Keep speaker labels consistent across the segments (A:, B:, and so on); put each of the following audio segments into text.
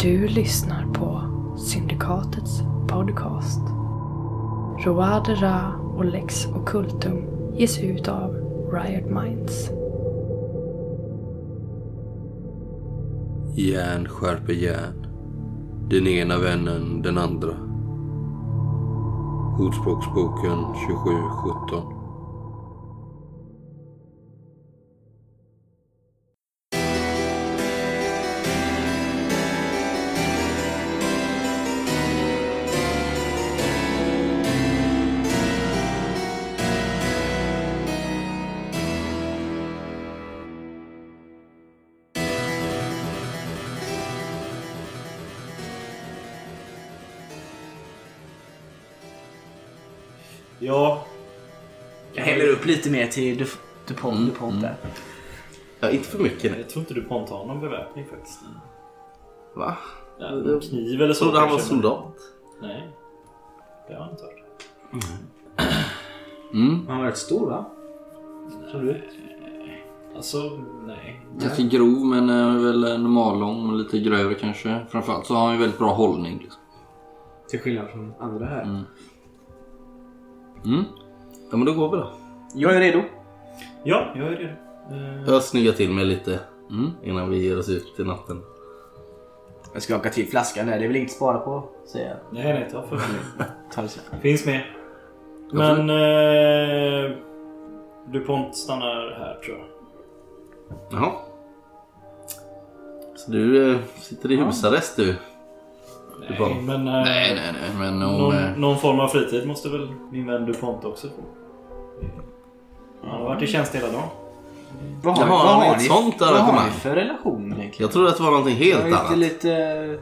A: Du lyssnar på Syndikatets podcast. Roade Ra och Lex Occultum ges ut av Riot Minds.
B: Järn skärper järn. Den ena vännen den andra. Ordspråksboken 2717.
C: Ja,
D: Jag häller upp lite mer till Du- DuPont. DuPont där.
E: Ja, inte för mycket.
C: jag tror inte du Pont har någon beväpning faktiskt.
E: Va?
C: Ja, en kniv eller så
E: Trodde han var
C: kanske, men-
E: soldat.
C: Nej, det har han inte hört.
D: Han var rätt stor va? Tror du?
C: Alltså, nej.
B: Ganska grov men eh, väl normallång och lite grövre kanske. Framförallt så har han ju väldigt bra hållning. Liksom.
D: Till skillnad från andra här.
B: Mm.
E: Ja, men då går vi då.
D: Jag är redo.
C: Ja, jag är redo. Eh,
E: Jag snyggar till mig lite
B: Mm.
E: innan vi ger oss ut i natten.
D: Jag skakar till flaskan där. Det är väl inget att spara på? Säger jag.
C: nej, nej, ta för mig.
D: Tar det
C: Finns med. Men eh, DuPont stannar här tror jag.
E: Jaha. Så du eh, sitter i husarrest du?
C: Nej,
E: DuPont.
C: men eh,
B: Nej, nej, nej. Men om... eh,
C: Någon, någon form av fritid måste väl min vän DuPont också få. Han har varit i tjänst hela dagen.
D: Vad
E: Jaha, har ni ett sånt
D: Vad har
E: arrangemang?
D: ni för relation egentligen?
E: Jag trodde att det var någonting helt
D: Jag är
E: annat.
D: inte lite...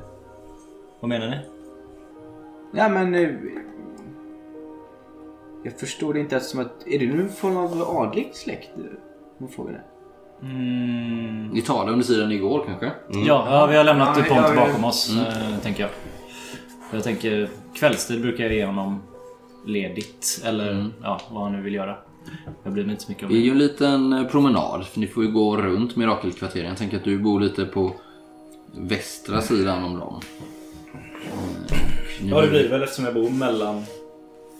C: Vad menar ni?
D: Ja men... eh, Jag förstår det inte eftersom att... Är du någon form av adlig släkt? Om frågan är.
C: Mm,
B: Ni talade under sidan igår kanske?
C: Ja, ja, vi har lämnat
D: Ja, Mm.
C: DuPont
D: jag-
C: bakom oss, eh, tänker jag. Jag tänker, kvällstid brukar jag ge honom ledigt. Eller
D: Mm.
C: ja, vad han nu vill göra. Jag bryr mig inte så mycket om
B: Det är
C: det.
B: ju en liten eh, promenad för ni får ju gå runt Mirakelkvarteren. Jag tänker att du bor lite på västra sidan om dem. Eh,
C: Ja, det blir väl eftersom jag bor mellan,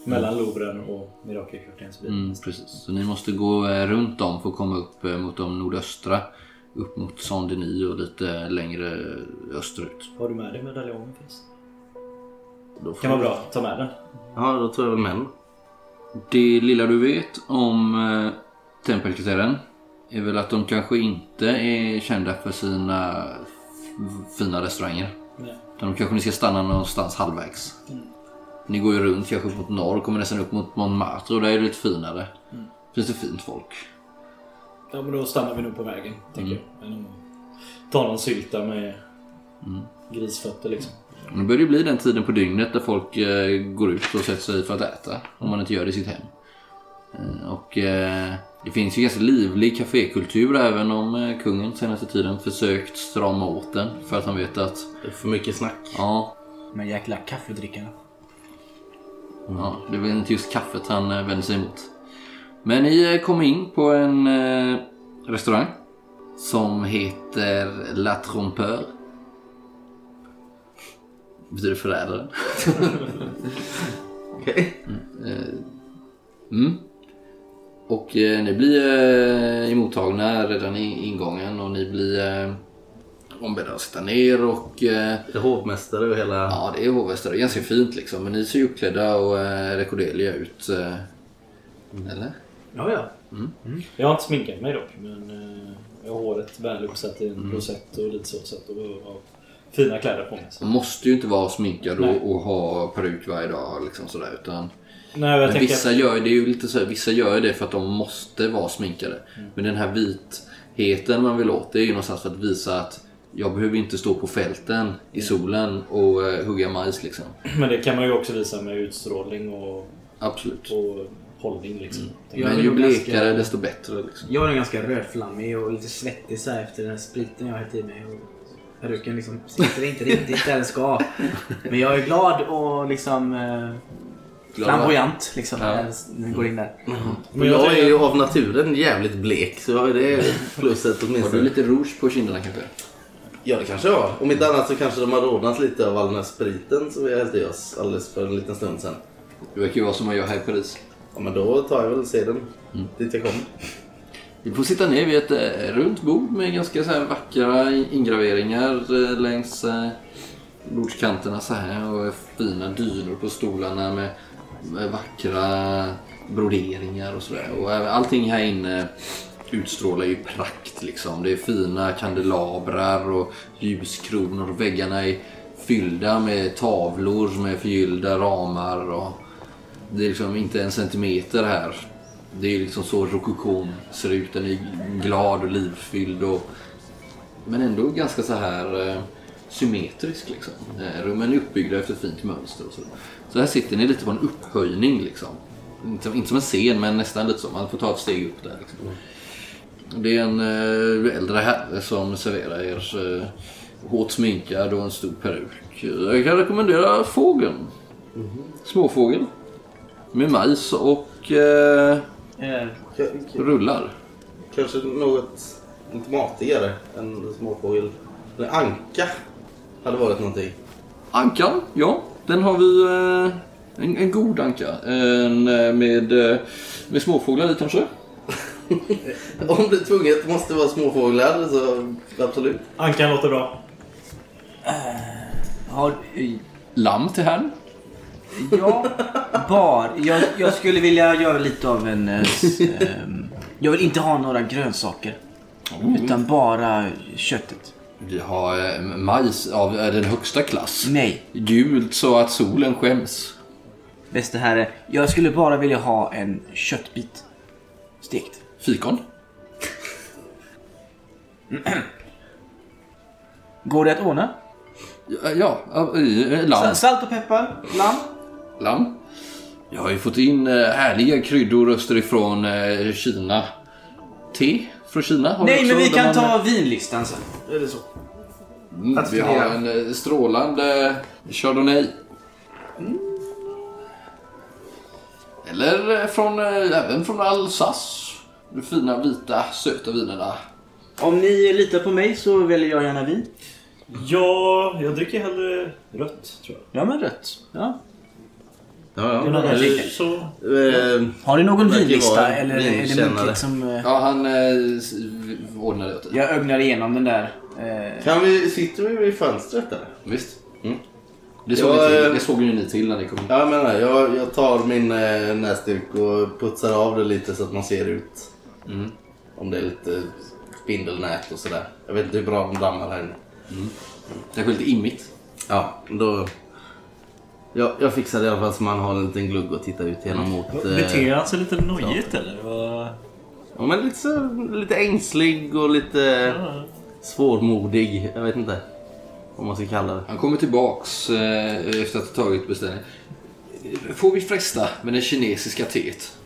C: mellan Louvren och Mirakelkvarteren. Så blir det.
B: Mm, precis. Så ni måste gå eh, runt dem för att komma upp eh, mot de nordöstra. Upp mot Saint-Denis och lite längre eh, österut.
C: Har du med dig medaljongen förresten?
E: Då får
C: Kan vara
E: vi-
C: bra, ta med den.
E: Ja, då tror jag väl män.
B: Det lilla du vet om eh, tempelkvarteren är väl att de kanske inte är kända för sina f- fina restauranger.
C: Nej.
B: Utan de kanske ni ska stanna någonstans halvvägs. Ni går ju runt kanske mot norr, kommer nästan upp mot Montmartre och där är det lite finare. Finns det fint folk.
C: Ja, men då stannar vi nog på vägen, tänker
D: Mm.
C: jag. Än att Ta någon sylta med
D: Mm.
C: grisfötter liksom.
B: Och Det börjar ju bli den tiden på dygnet där folk eh, går ut och sätter sig för att äta. Om man inte gör det i sitt hem. Eh, och eh, det finns ju ganska livlig kafékultur även om eh, kungen senaste tiden försökt strama åt den. För att han vet att,
E: Det är för mycket snack.
B: ja,
D: Men jäkla kaffedrickarna.
B: Mm. ja det är väl inte just kaffet han eh, vänder sig emot. Men ni eh, kom in på en eh, restaurang. Som heter La Trompeur. Betyder förrädaren.
E: Okej.
B: Eh, Mm. Och eh, ni blir eh, emottagna redan i ingången och ni blir eh, ombedda att sitta ner och eh,
E: Det är hovmästare och hela...
B: ja det är hovvästare, ganska fint liksom men ni ser ju uppklädda och eh, rekorderliga ut. Eh, eller?
C: Ja, ja. Jag har inte sminkat mig dock, men eh, jag har håret väl uppsatt i en rosett och lite så. så att, och, och, och fina kläder på mig. Så.
B: Man måste ju inte vara sminkad
C: Nej.
B: och, och ha peruk varje dag liksom sådär utan
C: Nej, jag
B: men
C: tänker
B: vissa gör det är ju lite så här, vissa gör ju det för att de måste vara sminkade.
C: Mm.
B: Men den här vitheten man vill åt det är ju någonstans för att visa att jag behöver inte stå på fälten
C: Mm.
B: i solen och eh, hugga majs liksom.
C: men det kan man ju också visa med utstrålning och,
B: Absolut.
C: och hållning liksom. tänker
B: Men
F: är
B: ju
F: nog ganska-
B: blekare desto bättre liksom.
F: Jag är nog ganska rödflammig och lite svettig så här efter den här spriten jag har hällt i mig. Och peruken liksom sitter inte riktigt där den ska. Men jag är glad och liksom eh, flamboyant liksom
B: Ja.
F: när den går in där.
C: jag.
E: Men
C: Men jag
E: jag
C: tänker-
E: är ju av naturen jävligt blek så jag har ju det pluset
B: Har du
E: åtminstone.
B: lite rouge på kinderna kanske?
G: Ja, det kanske var. Om inte annat så kanske de har rodnat lite av all den här spriten som vi hällde i oss alldeles för en liten stund sedan.
F: Det verkar ju vara som att jag är i Paris.
G: Ja, men då tar jag väl seden dit jag kom.
F: Vi får sitta ner vid ett eh, runt bord med ganska så här vackra ingraveringar eh, längs eh, bordskanterna så här och fina dynor på stolarna med, med vackra broderingar och sådär. Och även- allting här inne utstrålar ju prakt liksom. Det är fina kandelabrar och ljuskronor. Väggarna är fyllda med tavlor med förgyllda ramar och det är liksom inte en centimeter här. Det är liksom så rokokon ser ut. Den är glad och livfylld och men ändå ganska så här eh, symmetrisk liksom. Eh, rummen är uppbyggda efter ett fint mönster och så. Så här sitter ni lite på en upphöjning liksom. Inte, inte som en scen men nästan lite så. Man får ta ett steg upp där liksom. Det är en eh, äldre herre som serverar er eh, hårt sminkad och en stor peruk. Jag kan rekommendera fågeln. Småfågel. Med majs och eh,
C: Eh,
G: K- k-
F: rullar.
G: kanske något lite matigare än småfågel. Eller anka hade varit någonting.
F: Ankan, ja. Den har vi... Eh, en, en god anka. En, eh, med, eh, med småfåglar i kanske.
G: Om det tvunget måste vara småfåglar så absolut.
C: Ankan låter bra.
D: Ja,
F: Lamm till herrn.
D: ja bar. Jag, jag skulle vilja göra lite av en... eh, s- ehm, jag vill inte ha några grönsaker. Utan bara köttet.
F: Vi har eh, majs av eh, den högsta klass.
D: Nej,
F: Gult så att solen skäms.
D: bäste herre. Jag skulle bara vilja ha en köttbit. Stekt.
F: Fikon.
D: Går det att ordna?
F: Ja, ja eh, eh, lamm.
D: Sa- Salt och peppar, lamm.
F: lamm. Jag har ju fått in eh, härliga kryddor österifrån eh, Kina. Te från Kina har vi
D: Nej,
F: också,
D: men vi
F: där
D: kan
F: man-
D: ta vinlistan sen. Eller så.
F: Mm,
D: Att
F: vi har
D: fundera.
F: en eh, strålande Chardonnay. Eller eh, från, eh, även från Alsace. De fina vita söta vinerna.
D: Om ni litar på mig så väljer jag gärna vin.
C: Ja, jag dricker hellre rött tror jag.
D: Ja, men rött. Ja.
G: Ja, ja.
D: Det var
G: Du,
D: det.
C: Så...
G: eh,
D: Har ni någon
G: Verkar vara
D: vinlista
G: en
D: eller är det
G: vinkännare.
D: muntligt som... eh,
F: Ja, han eh, s- ordnar det åt dig.
D: Jag ögnar igenom den där. Eh,
G: kan vi, sitter vi vid fönstret där?
F: Visst.
G: Mm.
F: Det, såg
G: Ja,
F: ni till,
G: eh,
F: det såg ju ni till när ni kom in.
G: Ja, jag menar, jag, jag tar min eh, näsduk och putsar av det lite så att man ser ut.
F: Mm.
G: Om det är lite spindelnät och sådär. Jag vet inte hur bra de dammar här inne.
F: Mm. Kanske lite immigt.
G: Ja, då... Jag, jag fixar det i alla fall så man har en liten glugg att titta ut
F: Mm.
G: genom mot... eh,
C: Beter han sig lite nojigt eller? Vad-
G: ja, men lite, så, lite ängslig och lite svårmodig. Jag vet inte vad man ska kalla det.
F: Han kommer tillbaks eh, efter att ha tagit beställningen. Eh, Får vi fresta med det kinesiska teet?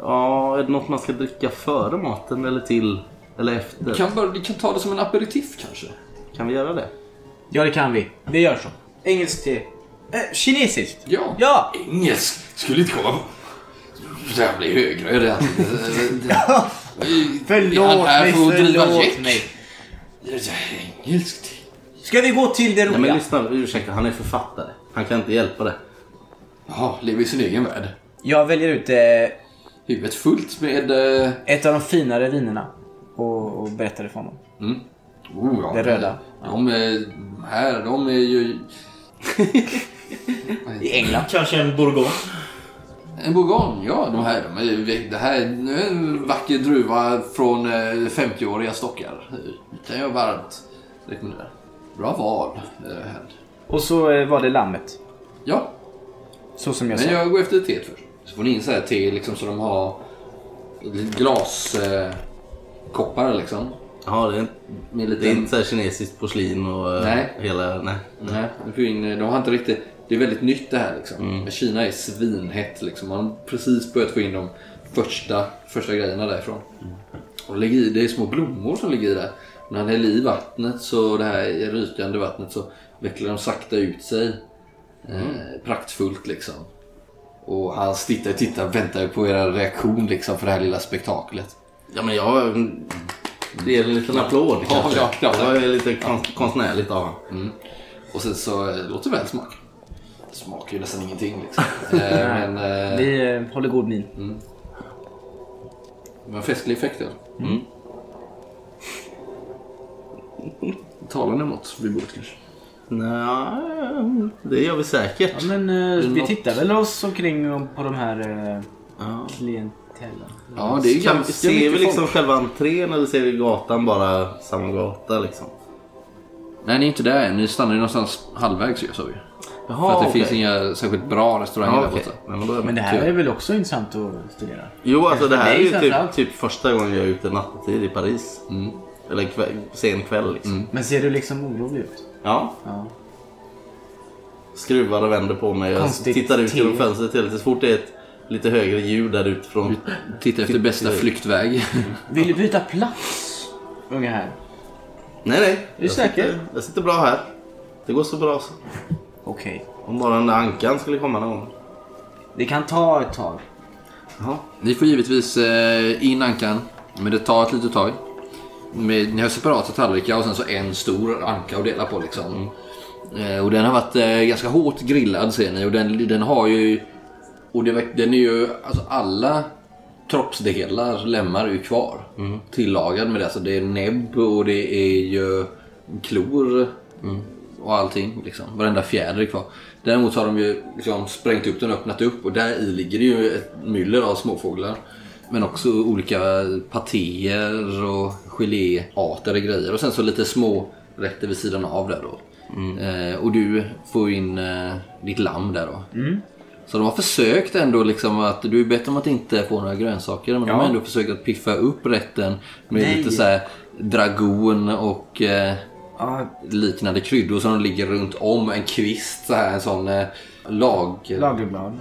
G: Ja, är det något man ska dricka före maten eller till? Eller efter?
F: Kan bara, vi kan ta det som en aperitif kanske?
G: kan vi göra det?
D: ja, det kan vi. Vi gör så. Engelskt te. Eh, kinesiskt.
F: Ja.
D: Ja!
F: Engelsk skulle inte komma på. Så jag blir högröd i ansiktet. Han
D: Förlåt
F: här
D: mig,
F: får driva
D: förlåt
F: gäck.
D: mig.
F: Engelsk te.
D: Ska vi gå till det roliga?
G: Nej men lyssna, ursäkta, han är författare. Han kan inte hjälpa det.
F: Jaha, lever i sin egen värld.
D: Jag väljer ut eh,
F: Huvudet fullt med... eh,
D: ett av de finare vinerna och, och berättar det för honom.
F: Mm. Oh, ja,
D: Det röda.
F: De är, här, de är ju...
D: I England.
C: Kanske en bourgogne?
F: En bourgogne, ja. De här, de är, ju- det här är en vacker druva från eh, 50-åriga stockar. Det kan jag varmt rekommendera. Bra val. eh, här.
D: Och så eh, var det lammet.
F: Ja,
D: Så som jag
F: Men
D: sa.
F: jag går efter teet först. Så får ni in så här te liksom så de har glaskoppar eh, koppar, liksom.
G: Jaha, det är,
F: Med lite...
G: det är inte så här kinesiskt porslin och eh,
F: Nej.
G: hela... Nej.
F: Nej, ni får in, de har inte riktigt... Det är väldigt nytt det här liksom. Men Kina är svinhett liksom. Man har precis börjat få in de första, första grejerna därifrån. Och det, ligger i, det är små blommor som ligger i det. När han häller i vattnet, så det här rykande vattnet, så vecklar de sakta ut sig. Eh, praktfullt liksom. Och han tittar och tittar och väntar på era reaktion liksom för det här lilla spektaklet.
G: Ja men jag... Det är en liten applåd kanske.
F: ja, klart.
G: det var ju lite kon- konstnärligt av honom.
F: Och sen så eh, låter väl smak. Smakar ju nästan ingenting liksom. eh, men, eh, Mm.
D: Vi eh, håller god min.
F: Det var en festlig effekt där. Mm. Mm. Talande mot vid bordet kanske.
G: Nej, det gör vi säkert.
D: Ja, men eh, vi
F: något-
D: tittar väl oss omkring och- på de här eh,
G: Ja.
D: klientellen.
F: Ja, det är ju
G: Kan,
F: ganska
G: ser vi
F: mycket
G: liksom
F: folk.
G: själva entrén eller ser vi gatan bara samma gata liksom?
F: Nej, ni är inte där än. Ni stannar ju någonstans halvvägs ju, sa vi.
G: Jaha,
F: För att det
G: okej.
F: finns inga särskilt bra restauranger
G: Ja,
F: där
G: okej.
F: borta.
G: Nej, men då är
D: Men det här
F: Tyvärr.
D: är väl också intressant att studera?
G: Jo, alltså det här
D: För
G: är
D: dig
G: ju typ,
D: framförallt.
G: typ första gången jag är ute nattetid i Paris. Mm. Eller kväll, sen kväll liksom.
D: Men ser du liksom orolig ut?
G: Ja.
D: Ja.
G: Skruvar och vänder på mig. Jag
D: Konstigt
G: tittar ut genom
D: te.
G: fönstret hela tiden. Så fort det är ett lite högre ljud där utifrån.
F: Titta efter bästa flyktväg.
D: Vill du byta plats? Unga här.
G: Nej, nej.
D: du
G: jag
D: säker?
G: Sitter, jag sitter bra här. Det går så bra så.
D: Okej.
G: Om bara den där ankan skulle komma någon gång.
D: Det kan ta ett tag.
F: Ni får givetvis eh, in ankan, men det tar ett litet tag. Med, ni har separata tallrikar och sen så en stor anka att dela på liksom. Eh, och den har varit eh, ganska hårt grillad ser ni och den, den har ju... Och det, verk- den är ju... Alltså alla kroppsdelar, lemmar är ju kvar. Tillagad med det. Alltså det är näbb och det är ju klor och allting. Liksom. Varenda fjäder är kvar. Däremot så har de ju liksom sprängt upp den och öppnat upp och där i ligger det ju ett myller av småfåglar. Men också olika patéer och geléarter och grejer. Och sen så lite små rätter vid sidan av där då.
D: Mm.
F: Eh, och du får ju in eh, ditt lamm där då.
D: Mm.
F: Så de har försökt ändå liksom att, du har ju bett om att inte få några grönsaker men de har ändå försökt att piffa upp rätten med lite så här dragon och eh, liknande kryddor som ligger runt om en kvist. Så här, en sån eh, lag,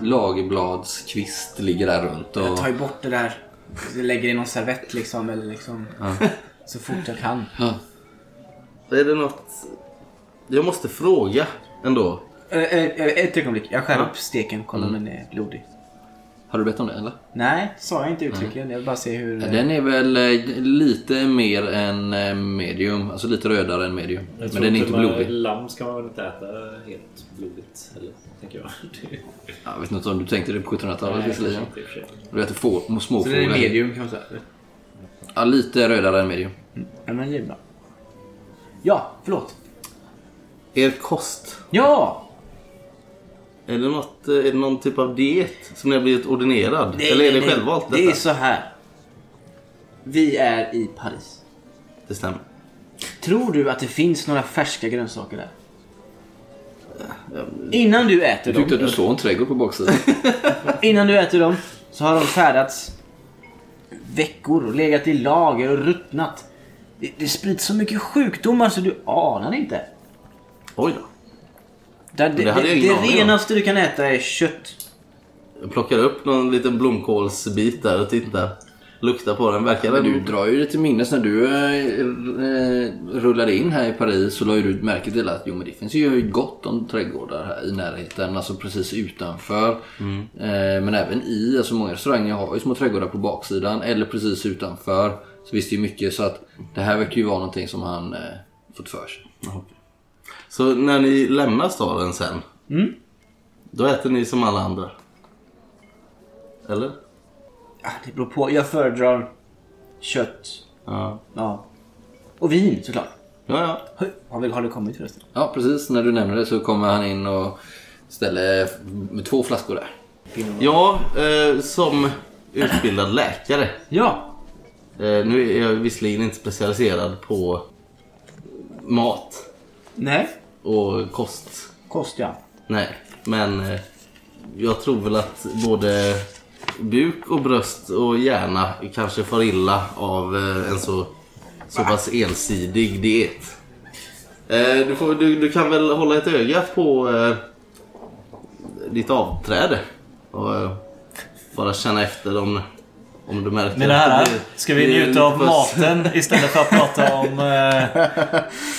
D: Lagerblad.
F: lagerbladskvist ligger där runt.
D: Jag
F: Och,
D: tar ju bort det där. Jag lägger i någon servett liksom. Eller liksom. Så fort jag kan.
G: Är det något... Jag måste fråga ändå.
D: Eh, eh, eh, Ett ögonblick. Jag skär upp steken. Kolla
F: Mm.
D: om den är blodig.
F: har du bett om det eller?
D: Nej, sa jag inte uttryckligen. Jag vill bara se hur... eh,
F: Den är väl eh, lite mer än eh, medium, alltså lite rödare än medium. Men den är inte blodig.
C: Lamm ska man väl inte äta helt blodigt? Eller, tänker jag. Det-
F: Jag vet inte om du tänkte det på 1700-talet visserligen.
C: i och för sig.
F: Du äter få, småfåglar.
B: Så det är medium kan man säga.
F: Ja, lite rödare än medium.
D: Ja, men givna. Ja, förlåt.
G: Er kost.
D: Ja!
G: Är det, något, är det någon typ av diet som ni har blivit ordinerad?
D: Nej,
G: Eller är det
D: nej, nej.
G: självvalt
D: Det är
G: detta?
D: så här. Vi är i Paris.
G: Det stämmer.
D: Tror du att det finns några färska grönsaker där? Innan du äter
F: Jag tyckte att
D: dem,
F: du såg en trädgård på baksidan.
D: innan du äter dem så har de färdats veckor och legat i lager och ruttnat. Det, det sprids så mycket sjukdomar så du anar inte.
G: Oj då.
D: Där det
G: det hade
D: det,
G: jag ingen aning om.
D: renaste du kan äta är kött.
G: Jag plockar upp någon liten blomkålsbit där och tittar. Luktar på den. Verkar den...
F: Du drar ju lite minnes när du eh, eh, rullade in här i Paris så la ju du märke till att jo, men det finns ju gott om trädgårdar här i närheten, alltså precis utanför. Eh, men även i, alltså många restauranger har ju små trädgårdar på baksidan eller precis utanför. Så visst det är ju mycket så att det här verkar ju vara någonting som han eh, fått för sig.
G: Så när ni lämnar staden sen. Då äter ni som alla andra. Eller?
D: Ah, Det beror på. Jag föredrar kött.
G: Ja.
D: Ja. Och vin såklart.
G: Ja, ja.
D: Hur- Har, vi, har det kommit förresten?
F: Ja precis, när du nämner det så kommer han in och ställer med två flaskor där.
G: Ja, eh, som utbildad läkare.
D: Ja,
G: Eh, nu är jag visserligen inte specialiserad på mat
D: Nej.
G: och kost.
D: Kost ja.
G: Nej, men eh, jag tror väl att både buk och bröst och hjärna kanske far illa av eh, en så, så pass ensidig diet. Eh, Du, får, du, du kan väl hålla ett öga på eh, ditt avträde och eh, bara känna efter om, om du märker
C: Mina
G: att
C: herrar,
G: det blir-
C: ska vi
G: det är
C: njuta av
G: lite-
C: maten istället för att prata om... Eh,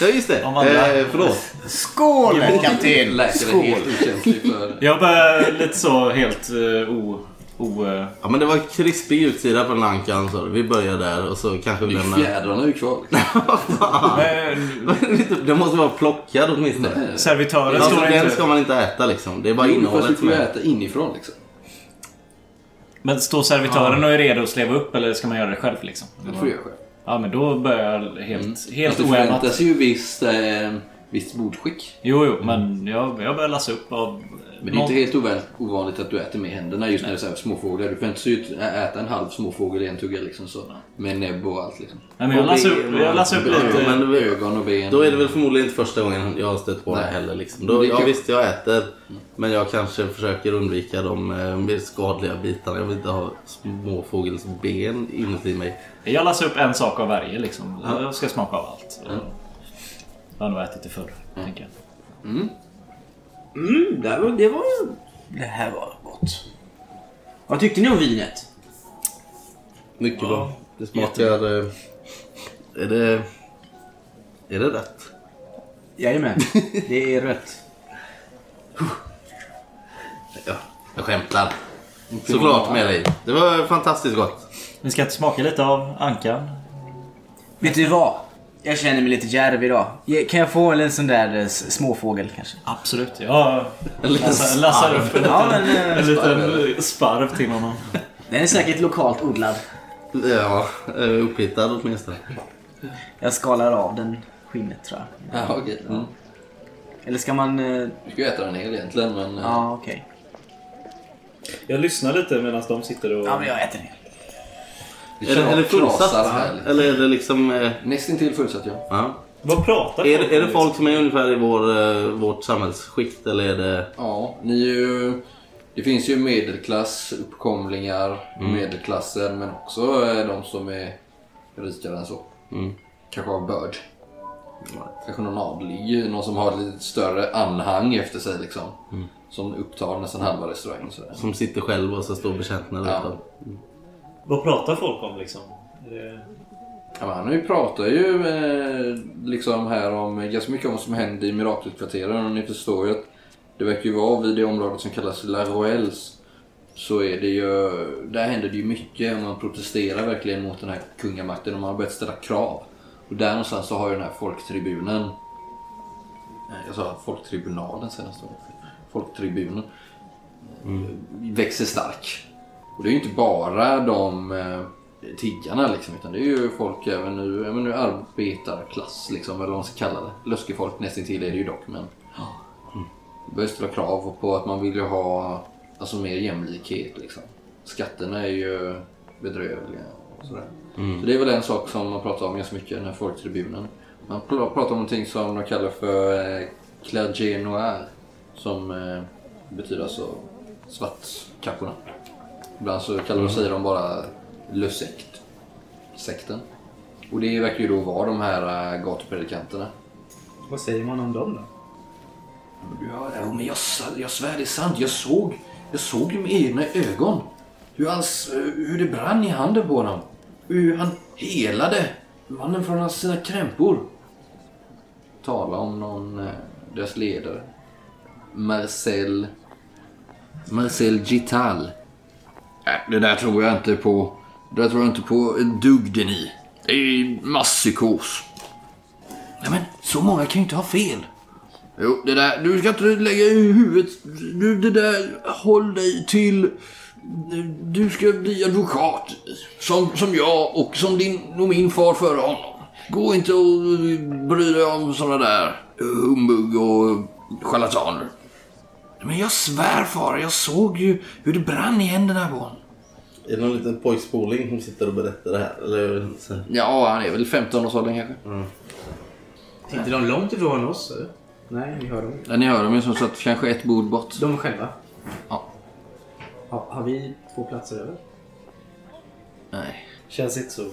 G: Ja just det,
C: Om andra.
G: eh, förlåt.
D: Skål kapten!
F: Läkaren är helt okänslig för
C: jag börjar lite så helt eh, o... O, eh,
G: Ja men det var krispig utsida på lankan så vi börjar där och så kanske vi
F: Det är ju
G: lämnar...
F: Fjädrarna är ju kvar.
C: men,
G: Den måste vara plockad åtminstone.
C: servitören
G: Alltså,
C: står inte...
G: den ska man inte äta liksom. Det är bara
F: Innehållet
G: innehållet
F: får ju
G: med.
F: äta inifrån liksom.
C: Men står servitören och är redo att sleva upp eller ska man göra det själv liksom?
F: Det får du göra själv.
C: Ja men då börjar jag helt, helt
F: Alltså, det
C: oämmat.
F: förväntas ju visst, eh, visst bordskick.
C: Jo, jo, men jag, jag börjar lassa upp av...
F: Men det är inte helt ovan- ovanligt att du äter med händerna just när det är så här småfåglar. Du förväntas ju inte ä- äta en halv småfågel i en tugga liksom så. Med näbb och allt liksom.
C: Nej, men jag lassar upp, jag lassar upp lite.
G: men-
F: Men ögon och ben.
G: Då är det väl förmodligen inte första gången jag har stött på det heller. Liksom. Då,
F: Det
G: ja,
F: kan-
G: visst, jag äter. Men jag kanske försöker undvika de eh, mer skadliga bitarna. Jag vill inte ha småfågelsben inuti mig.
C: Jag lassar upp en sak av varje liksom. Jag ska smaka av allt. Jag har nog ätit det förr, tänker jag.
D: Mm, det här var... Det, var, det här var gott. Vad tyckte ni om vinet?
G: Mycket bra. Det smakar... eh, Är det... Är det rätt?
D: Jajamän, det är rött.
G: Ja, jag skämtar. Såklart med dig. Det var fantastiskt gott.
C: Vi ska inte smaka lite av ankan?
D: Vet du vad? Jag känner mig lite djärv idag. Ge- Kan jag få en sån där eh, s- småfågel kanske?
C: Absolut, jag
G: Alltså,
C: lassar, lassar upp en
D: Ja,
C: liten,
D: men, eh,
C: en liten sparv till honom.
D: Den är säkert lokalt odlad.
G: Ja, eh, upphittad åtminstone.
D: Jag skalar av den skinnet tror jag.
F: Ja, okej. Mm.
D: Eller ska man... eh,
F: Du ska ju äta den hel egentligen men... eh,
D: Ja, okej.
C: Jag lyssnar lite medan de sitter och...
D: Ja, men jag äter det.
F: Det
G: Är det, är det fullsatt?
F: knasar här. liksom.
G: Eller är det liksom... eh,
F: Nästintill fullsatt ja.
G: Ja.
C: Vad pratar liksom?
G: Är, det- är det folk som är ungefär i vår, eh, vårt samhällsskikt eller är det...
F: Ja, ni är ju... Det finns ju medelklass, uppkomlingar, medelklassen men också eh, de som är rikare än så.
G: Mm.
F: Kanske har börd. Kanske någon adlig, någon som har lite större anhang efter sig liksom. Som upptar nästan halva restaurangen. Sådär.
G: Som sitter själv och så står liksom? betjänterna
F: Ja.
G: utan.
C: Vad pratar folk om liksom?
F: Ja, men han pratar ju eh, liksom här om ganska mycket om vad som händer i Mirakelkvarteren och ni förstår ju att det verkar ju vara vid det området som kallas La Roels så är det ju, där händer det ju mycket och man protesterar verkligen mot den här kungamakten och man har börjat ställa krav. Och där någonstans så har ju den här folktribunen, eh, jag sa folktribunalen senast, folktribunen, eh, växer stark. Och det är ju inte bara de eh, tiggarna liksom, utan det är ju folk även nu, ja, men nu arbetarklass liksom, eller vad man ska kalla det. Löskefolk nästintill är det ju dock, men det börjar ställa krav på att man vill ju ha alltså, mer jämlikhet liksom. Skatterna är ju bedrövliga och sådär. Så det är väl en sak som man pratar om ganska mycket i den här folktribunen. Man pl- pratar om någonting som de kallar för eh, clagé noir som eh, betyder alltså svartkapporna. Ibland så kallar de sig de bara lösekt. Sekten. Och det verkar ju då vara de här äh, gatupredikanterna.
D: Vad säger man om dem då?
F: Ja, ja, men jag, sa- jag svär det är sant. Jag såg, jag såg med egna ögon hur, hans, eh, hur det brann i handen på honom. Hur han helade mannen från hans, sina krämpor. Tala om någon, eh, deras ledare. Marcel... Marcel Gital. Nej, det där tror jag inte på. Det där tror jag inte på en dugg det ni. Det är masspsykos. Nej men, så många kan ju inte ha fel. Jo, det där, du ska inte lägga i huvudet. Du, det där, håll dig till... Du ska bli advokat. Som, som jag och som din och min far före honom. Gå inte och bry dig om såna där humbug och charlataner. Men jag svär far, jag såg ju hur det brann i händerna på honom.
G: Är det någon liten pojkspoling som sitter och berättar det här? Eller, så,
F: Ja, han är väl 15-årsåldern kanske.
D: Sitter de långt ifrån oss? Nej, vi hör dem.
F: Ja, ni hör dem ju som sagt kanske ett bord bort.
D: De själva?
F: Ja.
D: Ha, har vi två platser över?
F: Nej.
C: Känns inte så.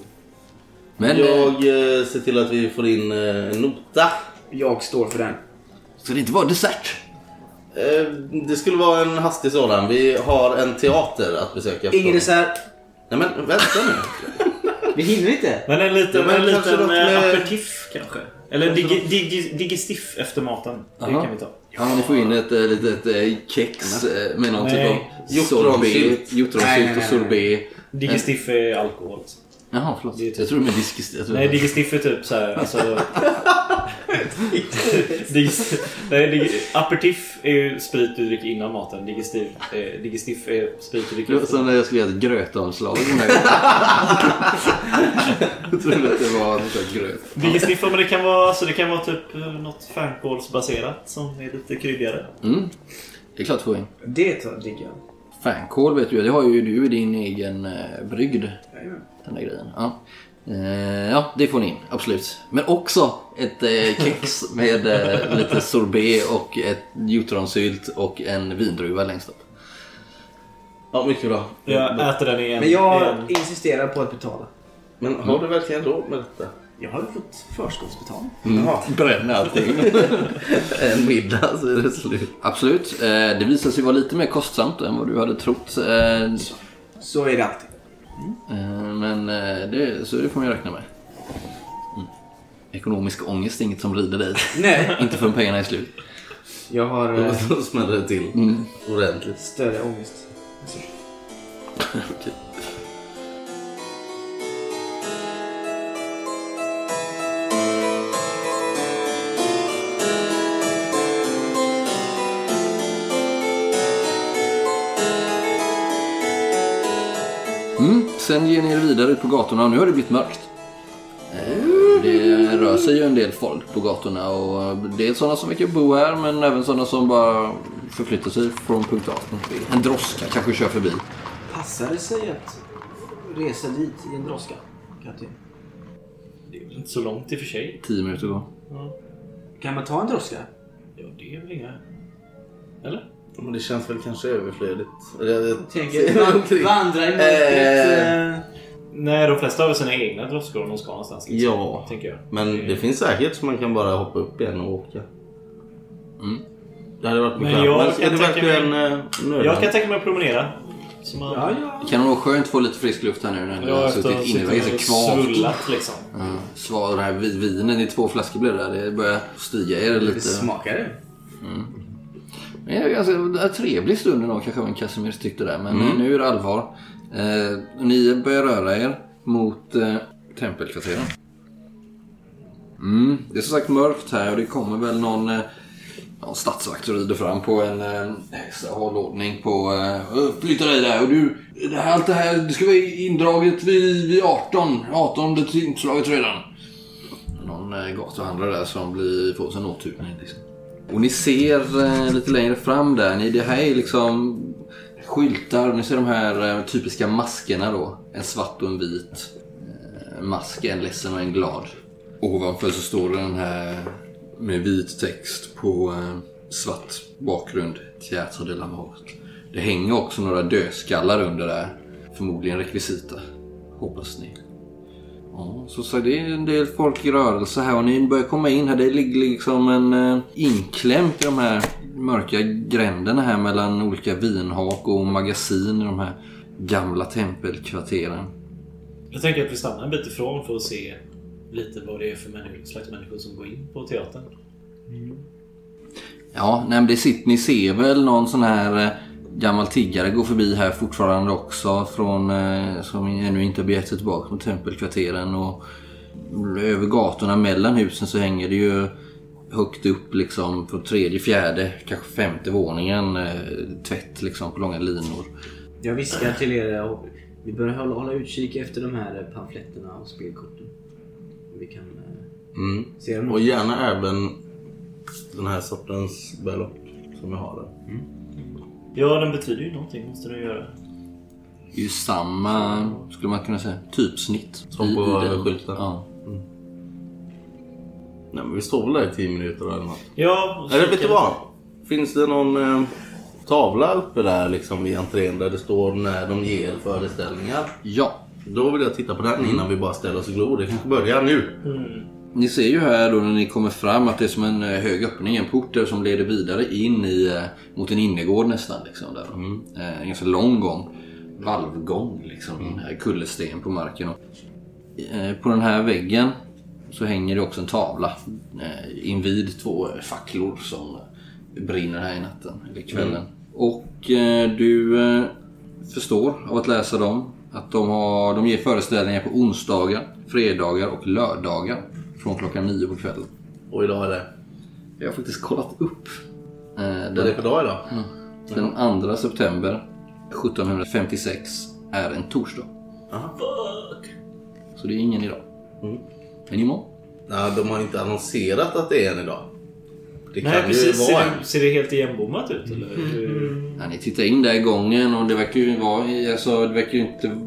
F: Men
G: jag
F: eh,
G: eh, ser till att vi får in eh, en nota.
D: Jag står för den.
F: ska det inte vara dessert?
G: Eh, det skulle vara en hastig sådan. Vi har en teater att besöka.
D: Ingen dessert.
G: Nej men vänta nu.
D: Vi hinner inte.
C: Men en liten,
G: Ja, men
C: en
G: kanske
C: liten
G: något
C: med...
G: med-
C: aperitif kanske? Eller digi, digi, digistiff efter maten. Det
F: Aha.
C: kan vi ta.
F: Ja, ni får in ett
G: eh,
F: äh, litet äh, kex eh, med någon
C: Nej.
F: typ av sorbet.
G: Hjortronsylt.
D: Nej,
F: Hjortronsylt
D: nej, nej,
F: och
D: nej.
F: sorbet.
C: Digistiff är alkohol. alltså.
F: Jaha, förlåt. Jag tror det är diskis. jag tror-
C: Nej, digistiff är typ så här... Alltså, digistiff, nej, dig, aperitif är ju sprit du dricker innan maten. Digistiff, eh, digistiff är sprit du
F: Det
C: dricker
F: var
C: efter.
F: som när jag skulle göra ett grötomslag. den här gången. jag trodde att det var något slags gröt.
C: Digistiff, ja, men det kan vara, alltså, det kan vara typ eh, något fänkålsbaserat som är lite kryddigare.
F: Mm. Det är klart får jag in.
D: Det tar- diggar jag.
F: Fänkål vet du, det har ju du i din egen eh, brygd.
D: Jajamän.
F: Den där grejen. Ja. Eh, ja, det får ni in. Absolut. Men också ett eh, kex med eh, lite sorbet och ett hjortronsylt och en vindruva längst upp.
G: Ja, mycket bra.
C: Jag äter den i en...
D: Men jag
C: i en-
D: insisterar på att betala.
G: Men har du verkligen råd med detta?
D: Jag har ju fått förskottsbetalning.
F: bränna Mm. allting. en middag så är det slut. Absolut. Eh, Det visade sig vara lite mer kostsamt än vad du hade trott. Eh,
D: Så är det alltid.
F: eh, Men eh, det, så det får man ju räkna med. Mm. Ekonomisk ångest är inget som rider dig.
D: Nej.
F: Inte förrän pengarna är slut.
D: Jag har eh,
G: Då smäller det till
F: Mm.
G: ordentligt.
D: större ångest.
F: Okej. Mm, sen ger ni er vidare ut på gatorna och nu har det blivit mörkt. Eh, Det rör sig ju en del folk på gatorna och det är sådana som verkar bo här men även sådana som bara förflyttar sig från punkt A till punkt B. En droska kanske kör förbi.
D: Passar det sig att resa dit i en brådska? Kapten?
C: Det är väl inte så långt i och för sig.
F: 10 minuter kvar.
D: Kan man ta en droska?
C: Ja, det är väl inga... Eller?
G: Men det känns väl kanske överflödigt. Eller, jag-
D: Jag tänker van- vandra i
G: Eh.
D: mörkret. eh,
C: Nej, de flesta har väl sina egna droskor om de ska någonstans. Liksom,
G: Ja.
C: Tänker jag.
G: Men det finns säkert så man kan bara hoppa upp igen och åka.
F: Mm.
G: Det hade varit
C: Men
G: bekvämt.
C: jag
G: Men
C: kan
G: är det
C: tänka
G: verkligen
C: mig-
G: eh,
C: Jag kan
G: nödvändigt?
C: tänka mig att promenera. Så man...
D: Ja, ja.
F: Det kan nog vara skönt att få lite frisk luft här nu när ni
C: Ja,
F: har
C: efter att ha
F: suttit inne. Det är
C: suttit
F: så
C: och
F: kvavt.
C: svullat liksom.
F: Ja, sval, den här vi- vinen i två flaskor blev det där. Det börjar stiga er
D: Det
F: lite. Mm.
D: smakar det.
F: Men alltså, det är ganska en trevlig stund ändå kanske även Casimir tyckte där. Men
C: Mm.
F: eh, nu är det allvar. Eh, ni börjar röra er mot eh, tempelkvarteren. Mm, det är som sagt mörkt här och det kommer väl någon, eh, någon stadsvakt och rider fram på en eh, så har lådning på... Eh, "Ö, flytta dig där och du... Det här, allt det här det ska vara indraget vid, vid 18. 18 det är inslaget redan. Någon eh, gatuhandlare där som blir, får sig en åthutning liksom. Och ni ser eh, lite längre fram där, ni, det här är liksom skyltar, ni ser de här eh, typiska maskerna då. En svart och en vit eh, mask, en ledsen och en glad. Ovanför så står det den här med vit text på eh, svart bakgrund, Teatro de la Mort. Det hänger också några dödskallar under där, förmodligen rekvisita, hoppas ni. Ja, så, så det är en del folk i rörelse här och ni börjar komma in här. Det ligger liksom en eh, inklämt i de här mörka gränderna här mellan olika vinhak och magasin i de här gamla tempelkvarteren.
C: Jag tänker att vi stannar en bit ifrån för att se lite vad det är för människor, slags människor som går in på teatern.
F: Ja, nej, men det sitter, ni ser väl någon sån här eh, gammal tiggare gå förbi här fortfarande också från, eh, som ännu inte har begett sig tillbaka mot tempelkvarteren. Och över gatorna mellan husen så hänger det ju högt upp liksom på tredje, fjärde, kanske femte våningen eh, tvätt liksom på långa linor.
D: Jag viskar till er eh, och vi bör hålla, hålla utkik efter de här eh, pamfletterna och spelkorten. Vi kan eh,
G: Mm.
D: se dem.
G: Och gärna även den här sortens berlock som jag har där.
C: Ja, den betyder ju någonting, måste den göra.
F: Det är ju samma, skulle man kunna säga, typsnitt.
G: Som
F: i-
G: på
F: i den.
G: skylten. Mm.
F: Ja.
G: Nej men vi står väl där i 10 minuter eller något.
C: Ja, och
G: Eller
C: kika
G: vet du
C: lite.
G: vad? Finns det någon eh, tavla uppe där liksom vid entrén där det står när de ger föreställningar?
F: ja.
G: Då vill jag titta på
C: Mm.
G: den innan vi bara ställer oss och glor. Det kanske börjar nu.
F: Ni ser ju här då när ni kommer fram att det är som en eh, hög öppning, en port där som leder vidare in i, eh, mot en innergård nästan. Liksom, där. Eh, En ganska lång gång. Valvgång liksom. Mm. Kullersten på marken. Och, eh, på den här väggen så hänger det också en tavla eh, invid två eh, facklor som brinner här i natten, eller kvällen. Och eh, du eh, förstår av att läsa dem att de, har, de ger föreställningar på onsdagar, fredagar och lördagar från klockan nio på kvällen.
G: Och idag är det.
F: Jag har faktiskt kollat upp eh,
G: Vad är
F: den,
G: det för dag idag?
C: Mm.
F: Mm. den 2 september 1756 är en torsdag. Så det är ingen idag. Men imorgon.
G: Nej, de har inte annonserat att det är en idag. Det kan
C: Nej, precis.
G: ju vara
C: Ser
G: en.
C: det, ser det helt igenbommat ut eller?
D: Mm.
C: Hur-
F: Ja, ni tittar in där i gången och det verkar ju vara, i- alltså det verkar ju inte...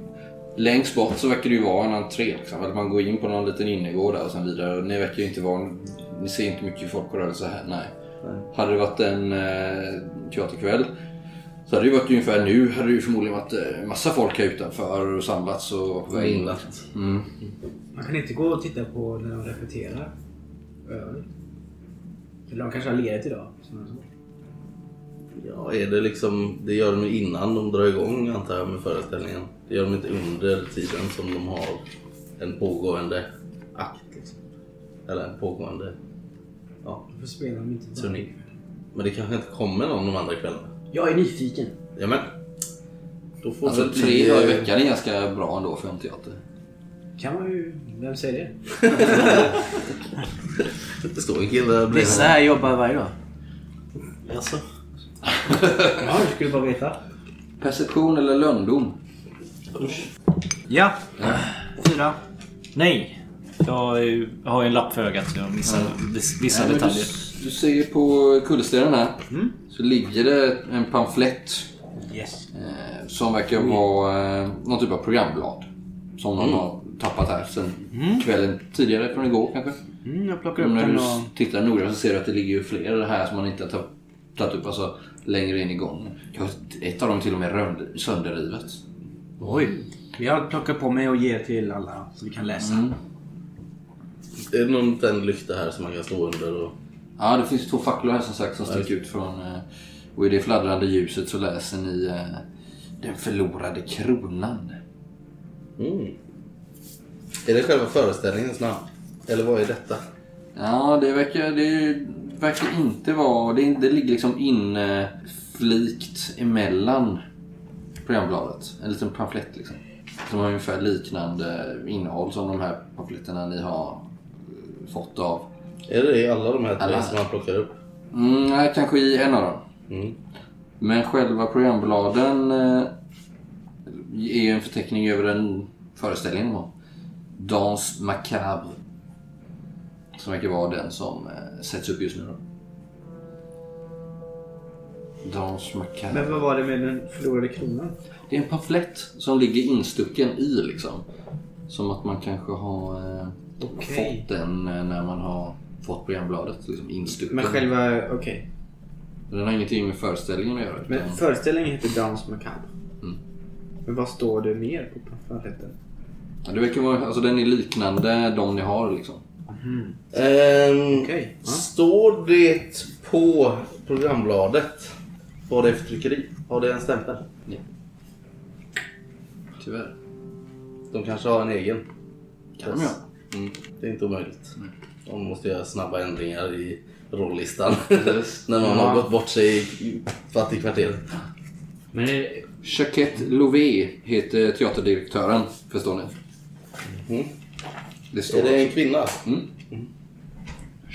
F: Längst bort så verkar det ju vara en entré liksom. Eller man går in på någon liten innergård där och sen vidare. Ni verkar ju inte vara... Ni ser inte mycket folk och rörelse här, nej. Hade det varit en eh, teaterkväll så hade det ju varit ungefär nu. Hade det ju förmodligen varit eh, massa folk här utanför och samlats och var på väg in. Mm.
D: Man kan inte gå och titta på när de repeterar övning. Eller de kanske har ledigt idag. som jag sa.
G: Ja, är det liksom... Det gör de ju innan de drar igång antar jag med föreställningen. Det gör de inte under tiden som de har en pågående akt. Liksom. Eller en pågående... Ja,
D: Varför spelar de inte bara?
G: turné. Men det kanske inte kommer någon de andra kvällarna.
D: Jag är nyfiken.
G: Ja, men. Då får
F: Alltså
G: väl vi,
F: tre dagar i
G: eh,
F: veckan är ganska bra ändå för en teater.
D: Kan man ju... Vem säger det?
G: Det står en kille där bredvid.
B: Vissa här jobbar varje dag.
C: Alltså.
G: Jaså?
D: Ja, du skulle bara veta.
F: Perception eller lönndom?
B: Ja. Fyra.
C: Nej. Jag är ju- jag har ju en lapp för ögat så jag missar vis- vissa
F: Nej, men
C: detaljer.
F: Du, du ser ju på kullerstenen här. Så ligger det en pamflett
B: Yes.
F: eh, som verkar vara eh, någon typ av programblad. Som någon har tappat här sen kvällen tidigare från igår kanske.
B: Mm, jag plockar
F: Men
B: upp
F: när
B: den
F: du
B: och...
F: tittar noga så ser du att det ligger ju fler här som man inte har ta- tagit upp alltså, längre in i gången. Ja, Ett av dem är till och med rönd- sönderrivet.
B: Oj. Jag plockar på mig och ger till alla så vi kan läsa.
G: Det är någon tänd lykta här som man kan stå under och...
F: Ja, det finns två facklor här som sagt som sticker ut från... eh, Och i det fladdrande ljuset så läser ni eh, Den förlorade kronan.
G: Mm. Är det själva föreställningens namn? Eller vad är detta?
F: Ja, det verkar, det verkar inte vara... Det, det ligger liksom inflikt emellan programbladet. En liten pamflett liksom. Som har ungefär liknande innehåll som de här pamfletterna ni har eh, fått av.
G: Är det i alla de här tre
F: Alla.
G: som man plockar upp?
F: Mm, nej, kanske i en av dem.
G: Mm.
F: Men själva programbladen eh, är ju en förteckning över en föreställning de har. Dans Macabre. Som verkar vara den som eh, sätts upp just nu då. Dans Macabre.
D: Men vad var det med den förlorade kronan?
F: Det är en pamflett som ligger instucken i liksom. Som att man kanske har eh,
D: Okej.
F: fått den eh, när man har fått programbladet liksom instucken.
D: Men själva... Okej.
F: Den har ingenting med föreställningen att göra.
D: Men
F: utan-
D: föreställningen heter Dance Macabre.
F: Mm.
D: Men vad står det mer på pamfletten?
F: Ja, det verkar vara, alltså den är liknande de ni har liksom.
G: Ehm,
D: Okej. Ja.
G: Står det på programbladet vad det är för tryckeri? Har det en stämpel?
F: Tyvärr.
G: De kanske har en egen.
F: Kan de göra.
G: Mm. Det är inte omöjligt. De måste göra snabba ändringar i rollistan. När man har gått bort sig i fattigkvarteret.
C: Men det,
F: Jacquette Lové heter teaterdirektören, förstår ni.
G: Mm.
F: Det står
G: Är det en
F: det...
G: kvinna?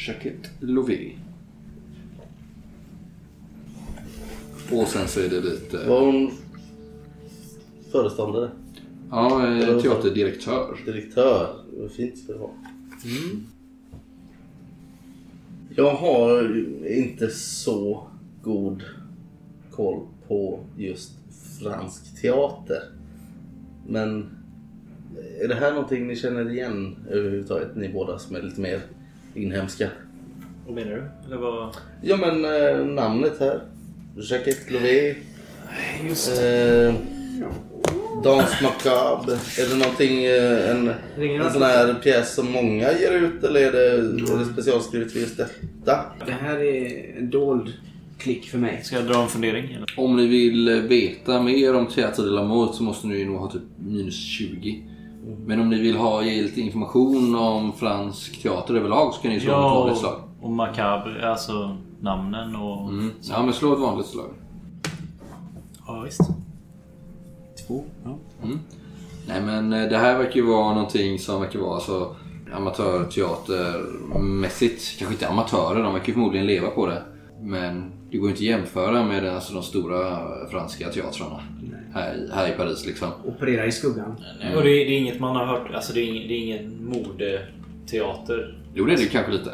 F: Jacquette Lové. Och sen så är det lite...
G: Var hon föreståndare?
F: Ja, eh, teaterdirektör.
G: Direktör. Vad fint ska det vara. Jag har inte så god koll på just fransk teater. Men är det här någonting ni känner igen överhuvudtaget? Ni båda som är lite mer inhemska.
C: vad menar du? Eller vad?
G: Ja men eh, namnet här. Jacquette Lové. Just eh, Dans Macabre. Är det någonting, eh, en, en sån här pjäs som många ger ut eller är det, är det specialskrivet för just detta?
D: Det här är en dold klick för mig.
C: Ska jag dra en fundering? Eller?
F: Om ni vill veta mer om Teater de la Mort så måste ni nog ha typ minus 20. Men om ni vill ha ge lite information om fransk teater överlag så kan ni slå ett
C: Ja,
F: vanligt slag.
C: och, och Macabre, alltså namnen och...
F: Mm. Ja, men slå ett vanligt slag.
C: Ja, visst.
D: Två. Ja.
F: Nej men eh, det här verkar ju vara någonting som verkar vara så amatörteatermässigt. Kanske inte amatörer, de verkar ju förmodligen leva på det. Men det går ju inte att jämföra med alltså, de stora franska teatrarna här, i- här i Paris liksom.
D: Opererar i skuggan.
C: Och det, är, det är inget man har hört, alltså det är, ing- det är ingen modeteater.
F: Jo det är det ju kanske lite.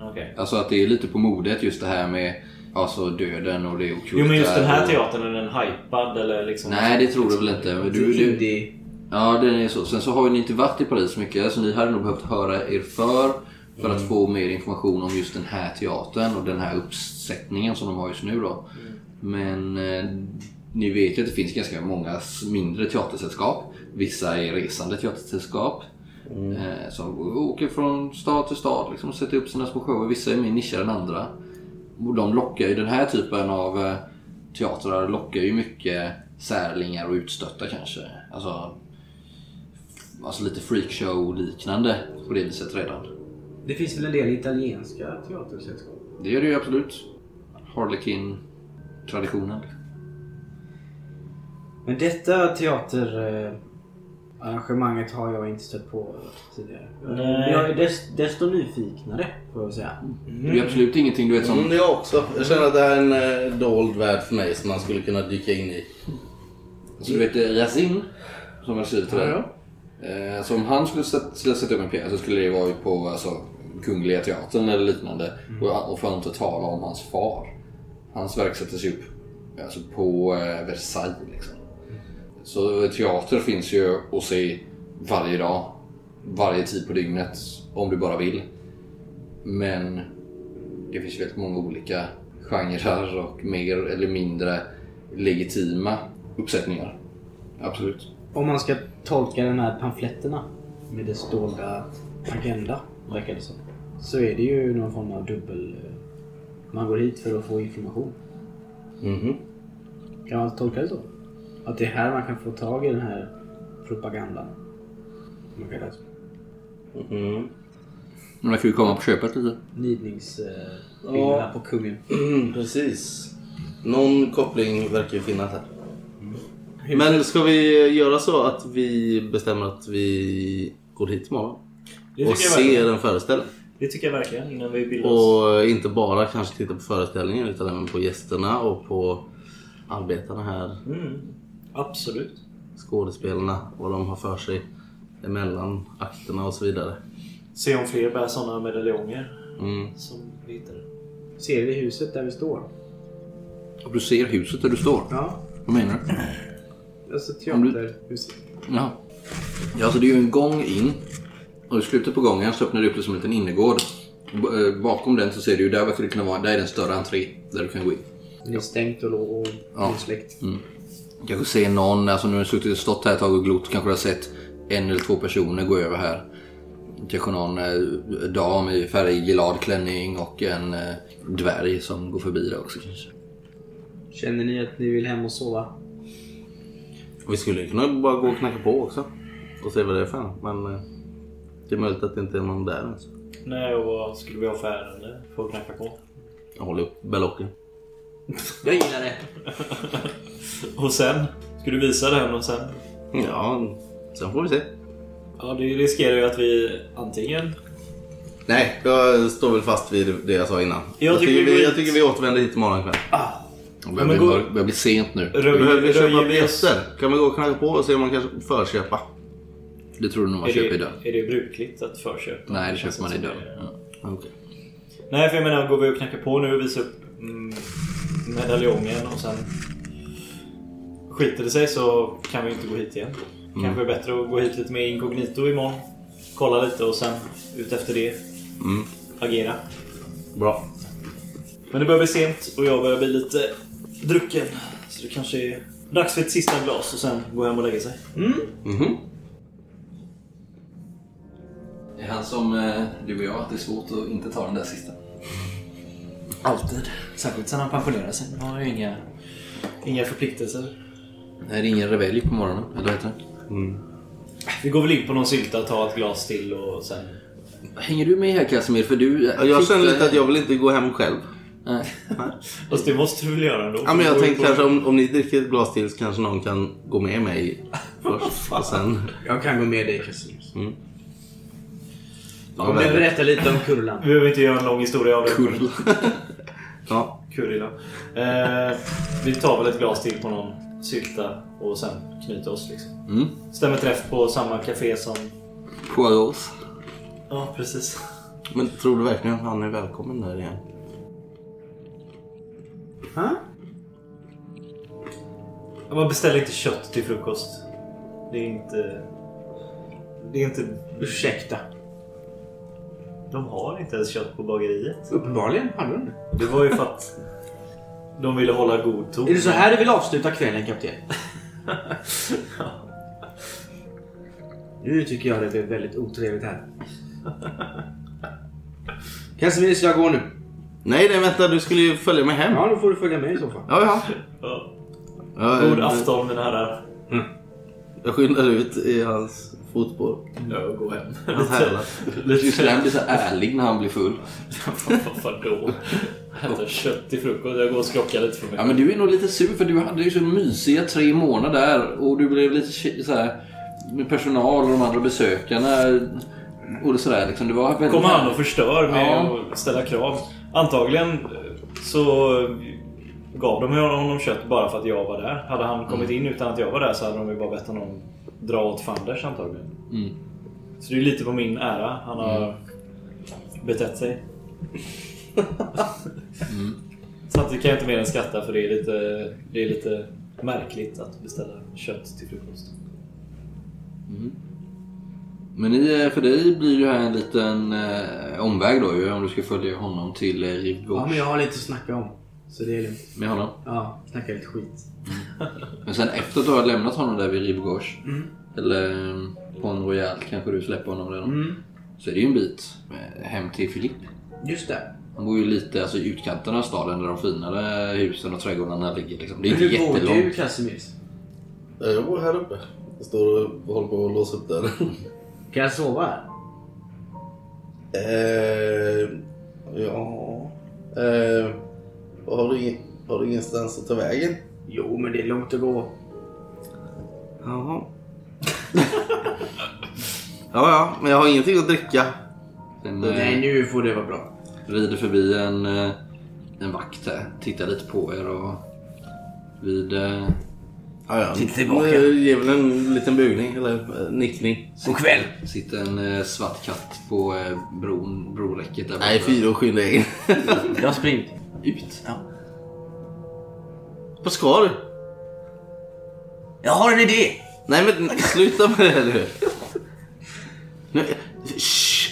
C: Okej.
F: Alltså att det är lite på modet just det här med alltså, döden och det okulta.
C: Jo men just den här
F: och-
C: teatern, är den hypad eller liksom?
F: Nej det tror du väl inte. Men
D: Du,
F: du, du,
D: Indie.
F: Ja, det är så. Sen så har ju ni inte varit i Paris så mycket så ni hade nog behövt höra er för för att få mer information om just den här teatern och den här uppsättningen som de har just nu då. Men eh, ni vet ju att det finns ganska många s- mindre teatersällskap. Vissa är resande teatersällskap eh, som åker från stad till stad liksom, och sätter upp sina små shower. Vissa är mer nischade än andra. Och de lockar ju, den här typen av eh, teatrar lockar ju mycket särlingar och utstötta kanske. Alltså, alltså lite freakshow-liknande på det viset redan.
D: Det finns väl en del italienska teatersällskap?
F: Det gör det ju absolut. Harlequin-traditionen.
D: Men detta teaterarrangemanget har jag inte stött på tidigare.
C: Nej.
D: Jag är des, desto nyfiknare får jag säga.
F: Det är ju absolut ingenting du vet som...
G: Mm, det är jag också. Jag känner att det här är en eh, dold värld för mig som man skulle kunna dyka in i.
F: Så du vet eh, Yasin, som har skrivit det där. Eh, Så om han skulle sätta, skulle sätta upp en pjäs så skulle det vara ju på alltså, Kungliga Teatern eller liknande. Och, och för att inte tala om hans far. Hans verk sättes ju upp alltså, på eh, Versailles. Liksom. Så eh, teater finns ju att se varje dag. Varje tid på dygnet. Om du bara vill. Men det finns ju väldigt många olika genrer och mer eller mindre legitima uppsättningar. Absolut.
D: Om man ska tolka de här pamfletterna med dess dolda agenda, verkar det som. Så är det ju någon form av dubbel... eh, Man går hit för att få information.
G: Mhm.
D: Kan man tolka det så? Att det är här man kan få tag i den här propagandan. Om Man kallar det så.
G: Mm.
F: Men det kan ju komma på köpet lite.
D: Nidningsbilderna på kungen.
G: Mm, precis. Någon koppling verkar ju finnas här.
C: Mm.
G: Men ska vi göra så att vi bestämmer att vi går hit imorgon?
C: det tycker,
G: Och
C: jag
G: ser
C: verkligen,
G: en föreställning.
C: det tycker jag verkligen innan vi bildar oss.
G: Och inte bara kanske titta på föreställningen utan även på gästerna och på arbetarna här.
C: Mm, absolut.
G: Skådespelarna, vad de har för sig emellan akterna och så vidare.
C: Se om fler bär sådana medaljonger
G: Mm.
C: som vi hittade.
D: Ser vi huset där vi står?
F: Och du ser huset där du står.
D: Ja,
F: Vad menar du?
D: alltså
F: Om du-
D: teaterhuset.
F: Ja. ja, alltså det är ju en gång in. Och i slutet på gången så öppnar det upp det som en liten innergård. B- eh, Bakom den så ser du ju, där verkar det kunna vara, där är den större entré där du kan gå in.
D: Det är stängt och, och, och
F: Ja.
D: släckt.
F: Kanske se någon, alltså nu har du suttit och stått här ett tag och glott, kanske du har sett en eller två personer gå över här. Kanske någon eh, dam i färgglad klänning och en eh, dvärg som går förbi där också kanske.
D: Känner ni att ni vill hem och sova?
G: Och Vi skulle ju kunna bara gå och knacka på också och se vad det är för en. Men eh, det är möjligt att det inte är någon där ens.
C: Nej, och vad skulle vi ha för ärende? Får knacka på.
G: Jag håller upp berlocken.
D: Jag gillar det.
C: Och sen? Ska du visa det här någon sen?
G: Ja, sen får vi se.
C: Ja, det riskerar ju att vi antingen...
G: Nej, jag står väl fast vid det jag sa innan.
C: Jag
G: Jag,
C: tycker
G: tycker,
C: vi går
G: vi, jag
C: hit.
G: tycker vi återvänder hit imorgon kväll.
F: Det börjar,
C: men
F: bli,
C: gå-
F: mörkt, det börjar bli sent nu.
C: Röjer,
G: Behöver vi köpa
C: röjer oss-
G: biljetter? Kan vi gå och knacka på och se om man kan förköpa?
F: Det tror du nog man
C: Är
F: köper idag.
C: det, är det brukligt att förköpa? Alltså,
F: Nej, det köper man i dörren. Ja.
G: Okej.
C: Nej, för jag menar, går vi och knackar på nu och visar upp mm, medaljongen och sen skiter det sig så kan vi inte gå hit igen.
F: Mm.
C: Kanske är det bättre att gå hit lite mer inkognito imorgon. Kolla lite och sen ut efter det
F: Mm.
C: agera.
G: Bra.
C: Men det börjar bli sent och jag börjar bli lite drucken. Så det kanske är dags för ett sista glas och sen gå hem och lägga sig.
F: Det är han som, eh, du och jag, att det är svårt att inte ta den där sista.
C: Alltid. Särskilt sen han pensionerade sig. Han har ju inga, inga förpliktelser.
F: Nej, det är ingen rebell på morgonen, eller vad heter det?
C: Vi går väl in på någon sylta och tar ett glas till och sen...
F: Hänger du med här Casimir? För du... eh,
G: Ja, Jag känner lite att jag vill inte gå hem själv.
F: Nej.
C: Fast det måste du väl göra ändå?
G: Ja, men jag
C: Går vi
G: tänkte
C: på-
G: kanske om, om ni dricker ett glas till så kanske någon kan gå med mig först. Och sen... Mm.
D: Jag kan gå med dig Kristin.
G: Ja,
D: Om du
G: väl.
D: berättar lite om Kurlan.
C: Vi behöver inte göra en lång historia av det.
G: ja.
C: Kurila. Eh, vi tar väl ett glas till på någon sylta och sen knyter oss liksom.
F: Mm.
C: Stämmer träff på samma café som...
F: Poirots.
C: Ja, precis.
G: Men tror du verkligen att han är välkommen där igen?
D: Ha?
C: Man beställer inte kött till frukost. Det är inte... Det är inte...
D: Ursäkta.
C: De har inte ens kött på bageriet.
D: Uppenbarligen hade hon det.
C: Det var ju för att de ville hålla god ton.
D: Är det så här du vill avsluta kvällen kapten? nu tycker jag det blev väldigt otrevligt här. Casimir, ska jag gå nu?
G: Nej, nej vänta. Du skulle ju följa med hem. Ja,
D: Ja, då får du följa med i så fall.
G: ja.
C: Ja.
G: ja
C: God
G: jag-
C: afton mina herrar.
G: Jag skyndar ut i hans fotspår.
C: Jag går hem.
G: Hans hälar.
F: Tyskland
C: Lite...
F: blir så ärlig när han blir full.
C: Vadå? Äta kött till frukost. Jag går och skrockar lite för mig.
F: Ja, men du är nog lite sur för du hade ju så mysiga tre månader och du blev lite ki- så här med personal och de andra besökarna och sådär liksom. Det var väldigt...
C: kommer han och förstör med
F: Ja.
C: att ställa krav. Antagligen eh, så gav de ju honom kött bara för att jag var där. Hade han kommit
F: Mm.
C: in utan att jag var där så hade de ju bara bett honom dra åt fanders antagligen.
F: Mm.
C: Så det är lite på min ära han har betett sig.
F: Mm.
C: Samtidigt kan jag inte mer än skratta för det är lite, det är lite märkligt att beställa kött till frukost.
F: Men i, eh, för dig blir det här en liten eh, omväg då ju om du ska följa honom till eh,
D: Ja,
F: Rivgård
D: men jag har lite att snacka om. Så det är lugnt.
F: med honom.
D: Ja, snacka lite skit.
F: Men sen efter att du har lämnat honom där vid Rivgårds
D: Mm.
F: eller eh, på en Royal kanske du släpper honom redan.
D: Mm.
F: Så är det ju en bit eh, hem till Filip.
D: Just det.
F: Han bor ju lite alltså, i utkanten av staden där de finare husen och trädgårdarna ligger. Liksom. Det är
D: Men
F: inte
D: hur bor du
F: jättelångt.
D: Casimir?
G: Jag bor här uppe. Jag står och håller på att låsa upp dörren.
D: Kan jag sova här?
G: eh, ja... Eh, har, du ingen, har du ingenstans att ta vägen?
D: Jo, men det är långt att gå.
G: Jaha. ja, ja. Men jag har ingenting att dricka.
F: Sen,
D: Nej,
F: eh,
D: nu får det vara bra.
F: rider förbi en, eh, en vakt här. Tittar lite på er och vid... eh,
G: Ja, ja.
D: Titta tillbaka.
G: Eh, Ge väl en liten bugning eller eh, nickning.
D: God kväll!
F: Sitter en eh, svart katt på eh, bron, broräcket där borta.
G: Nej, fy då. Skynda dig in.
D: Jag springer.
F: Ut.
G: Vad ska du?
D: Jag har en idé!
G: Nej men sluta med det här nu. nu shh,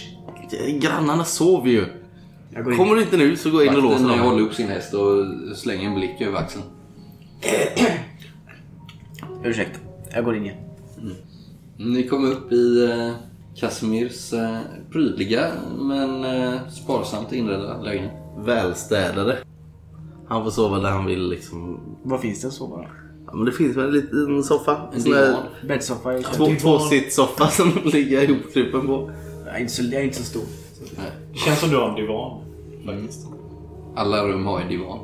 G: grannarna sover ju.
D: Jag går in.
G: Kommer du inte nu så går jag in och låser
F: Vakten eh,
G: dem.
F: håller upp sin häst och slänger en blick över axeln.
D: Ursäkta. Jag går in igen.
F: Ni kommer upp i eh, Casimirs eh, prydliga men eh, sparsamt inredda lägenhet.
G: Välstädade. Han får sova där han vill liksom.
D: Vad finns det att sova då?
G: Ja, men det finns väl en liten soffa. En sån
F: divan.
G: där
D: Bäddsoffa? Jag,
G: två, tvåsitssoffa som ligger ihopkrupen på.
D: jag, är inte så, jag är inte så stor.
C: Det känns som du har en divan. Faktiskt.
F: Alla rum har en divan.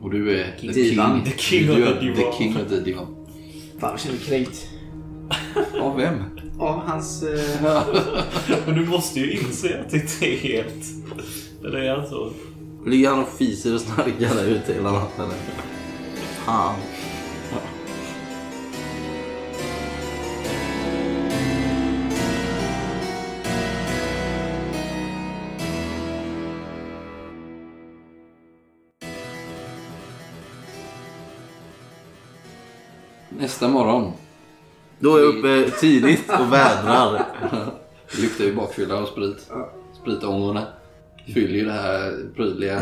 F: Och du är the
D: Divan.
F: king.
C: The king of
F: du är
C: the divan.
F: The king of the divan.
D: Fan, jag känner mig kränkt.
F: Av vem?
D: Av hans... Eh...
C: Men du måste ju inse att det inte är helt... Eller är han så?
G: Ligger han och fiser och snarkar där ute hela natten. eller? Fan.
F: Nästa morgon.
G: Då är jag uppe tidigt och vädrar.
F: Det luktar ju bakfylla och sprit. Spritångorna fyller ju det här prydliga,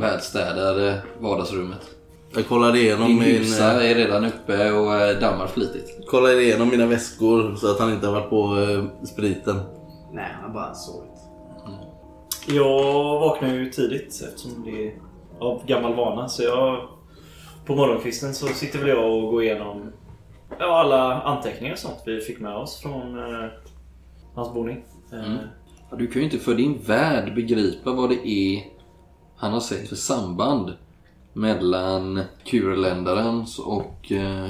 F: välstädade vardagsrummet.
G: Jag kollade igenom
F: Din
G: min...
F: husa är redan uppe och eh, dammar flitigt.
G: Kollade igenom mina väskor så att han inte har varit på eh, spriten.
D: Nej, han har bara sovit.
C: Jag vaknar ju tidigt eftersom det är av gammal vana. Så jag... På morgonkvisten så sitter väl jag och går igenom ja, alla anteckningar och sånt vi fick med oss från eh, hans boning. Eh,
F: Ja, Du kan ju inte för din värld begripa vad det är han har sett för samband mellan kurländarens och eh,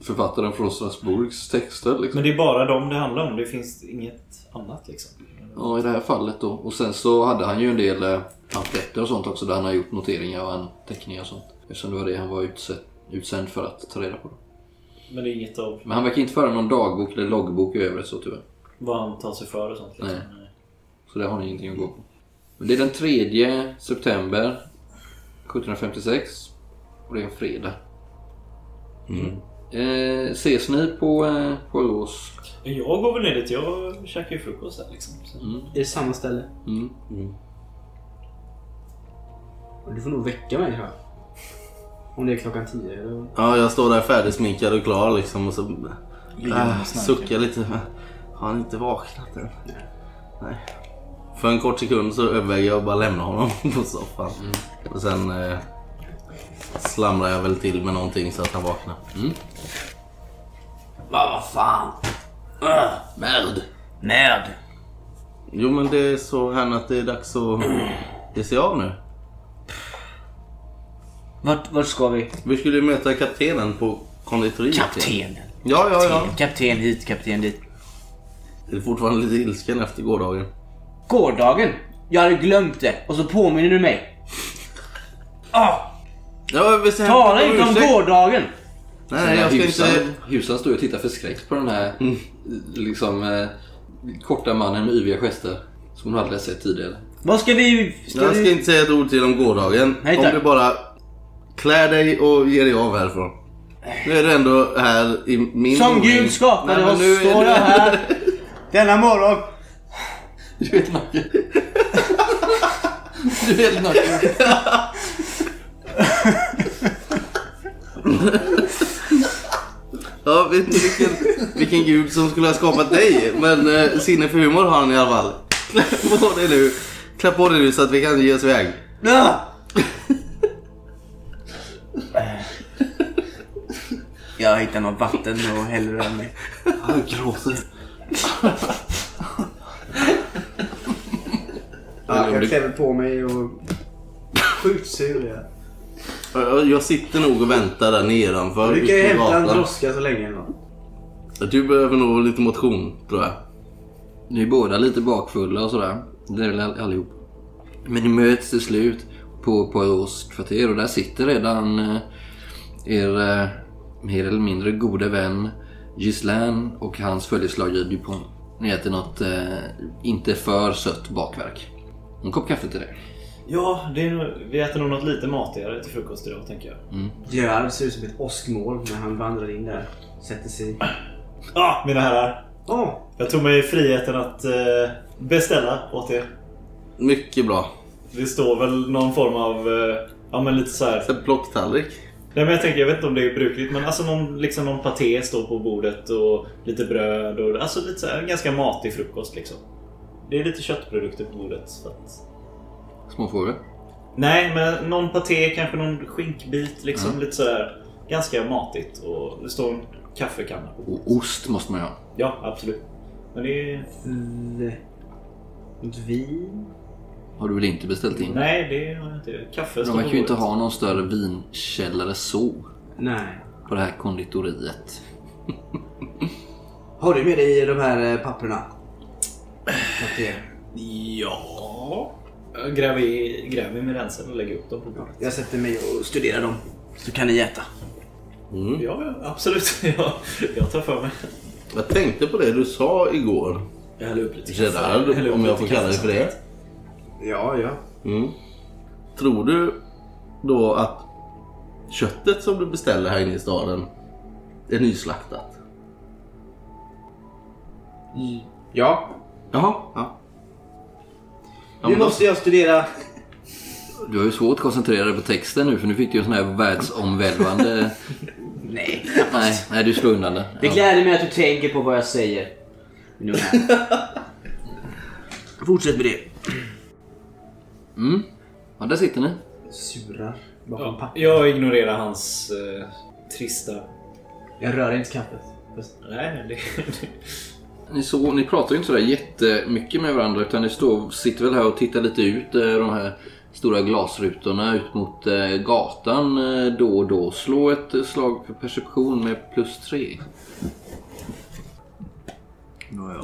F: författaren från Strasbourgs texter. Liksom.
C: Men det är bara dem det handlar om. Det finns inget annat liksom.
F: Ja, i det här fallet då. Och sen så hade han ju en del eh, pamfletter och sånt också där han har gjort noteringar och anteckningar och sånt. Eftersom det var det han var utsätt, utsänd för att ta reda på.
C: Men det är inget av
F: Men han verkar inte föra någon dagbok eller loggbok i övrigt så tyvärr.
C: vad han tar sig för och sånt. Liksom.
F: Så det har ni ingenting att gå på. Men det är den 3 september 1756 och det är en fredag. Mm. Eh, ses ni på, eh, på Rås?
C: Men Jag går väl ner dit. Jag käkar ju frukost där liksom. Så.
D: Är det samma ställe?
F: Mm.
D: Du får nog väcka mig här. Om det är klockan tio. Eller?
G: Ja, jag står där färdigsminkad och klar liksom och så äh, suckar lite. Har han inte vaknat än? Nej. För en kort sekund så överväger jag att bara lämna honom på soffan. Och sen eh, slamrar jag väl till med någonting så att han vaknar.
D: Va, vad fan?
G: Märd!
D: Nerd!
G: Jo men det är så här att det är dags att ge sig av nu.
D: Vart, vart ska vi?
G: Vi skulle ju möta kaptenen på konditoriet.
D: Kaptenen.
G: Ja, ja, ja.
D: Kapten hit, kapten dit.
G: Det är fortfarande lite ilsken efter gårdagen.
D: Gårdagen. Jag hade glömt det och så påminner du mig. Ah,
G: Ja, vi ser-
D: tala inte om
G: ursäkt.
D: gårdagen.
G: Nej, nej, jag ska
F: husan,
G: inte...
F: husan står ju och tittar förskräckt på den här liksom, eh, korta mannen med yviga gester. Som hon aldrig har sett tidigare.
D: Vad ska vi... Ska
G: Jag ska
D: vi...
G: inte säga ett ord till om gårdagen.
D: Nej,
G: om
D: tack.
G: du bara klär dig och ger dig av härifrån. Nu är du ändå här i min
D: Som
G: boning.
D: Gud
G: Nej,
D: skapade
G: men
D: oss
G: nu är
D: står
G: du-
D: jag här denna morgon.
F: Du vet nacken. Du vet nacken.
G: Ja, vet inte vilken, vilken gud som skulle ha skapat dig. Men eh, sinne för humor har han i alla fall. Klä på dig nu. Klä på dig nu så att vi kan ge oss iväg.
D: Ah! Jag hittar något vatten och häller över mig.
G: Han gråter.
D: Ja, jag klämmer på mig och... Sjukt sur jag.
G: Jag sitter nog och väntar där nedanför.
D: Du kan ju
G: ute på
D: hämta en
G: gatan.
D: droska så länge. eller nåt.
G: Du behöver nog lite motion, tror jag.
F: Ni är båda lite bakfulla och sådär. Det är väl all- allihop. Men ni möts till slut på Poirots kvarter och där sitter redan eh, er eh, mer eller mindre gode vän Gislain och hans följeslagare Dupont. Ni äter något eh, inte för sött bakverk. En kopp kaffe till det.
C: Ja, det är, nog- vi äter nog något lite matigare till frukost idag tänker jag.
D: Gerard ser ut som ett åskmål när han vandrar in där. Sätter sig.
C: Ah, mina herrar!
D: Åh!
C: Jag tog mig friheten att eh, beställa åt er.
G: Mycket bra.
C: Det står väl någon form av... Eh, ja, men lite så här.
G: Så här Plocktallrik.
C: Nej, men jag, tänker, jag vet inte om det är brukligt, men alltså någon, liksom någon paté står på bordet och lite bröd. Och, alltså lite så här, en ganska matig frukost liksom. Det är lite köttprodukter på bordet. Så att...
F: Småfrågor.
C: Nej, men någon paté, kanske någon skinkbit. Liksom, Lite så här, ganska matigt. Och det står en kaffekanna på
F: Och ost måste man ju ha.
C: Ja, absolut. Men det är...
D: L- Något vin?
F: Har du väl inte beställt in?
C: Nej, det har jag inte. Kaffe
F: De
C: står
F: verkar
C: på
F: ju inte
C: bordet.
F: ha någon större vinkällare så
D: Nej.
F: på det här konditoriet.
D: Har du med dig de här eh, papperna? Matteo.
C: Ja... Jag Gräver i, gräver i med rensen och lägger upp dem på bordet.
D: Jag sätter mig och studerar dem. Så kan ni äta.
F: Mm.
C: Ja, ja, absolut. Jag, jag tar för mig.
G: Jag tänkte på det du sa igår.
C: Jag häller upp lite
G: Gerard,
C: häller upp
G: om jag
C: lite
G: får kalla dig
C: kaffe
G: för det.
D: Ja, ja.
G: Mm. Tror du då att köttet som du beställer här inne i staden är nyslaktat?
D: Ja.
G: Jaha. Ja. Ja,
D: Nu
G: men då,
D: måste jag studera.
F: Du har ju svårt att koncentrera dig på texten nu för nu fick du ju en sån här världsomvälvande...
D: Nej.
F: nej, nej, du slår undan den.
D: Det gläder mig att du tänker på vad jag säger. Nu här. Fortsätt med det.
F: Mm. Ja, där sitter ni.
D: Surar bakom
C: Ja,
D: papper.
C: jag ignorerar hans eh, trista
D: Jag rör inte kaffet. Fast-
C: Nej, det, det,
F: Ni, så, ni pratar ju inte sådär jättemycket med varandra utan ni står, sitter väl här och tittar lite ut eh, de här stora glasrutorna ut mot eh, gatan eh, då och då. Slå ett eh, slag för perception med plus tre.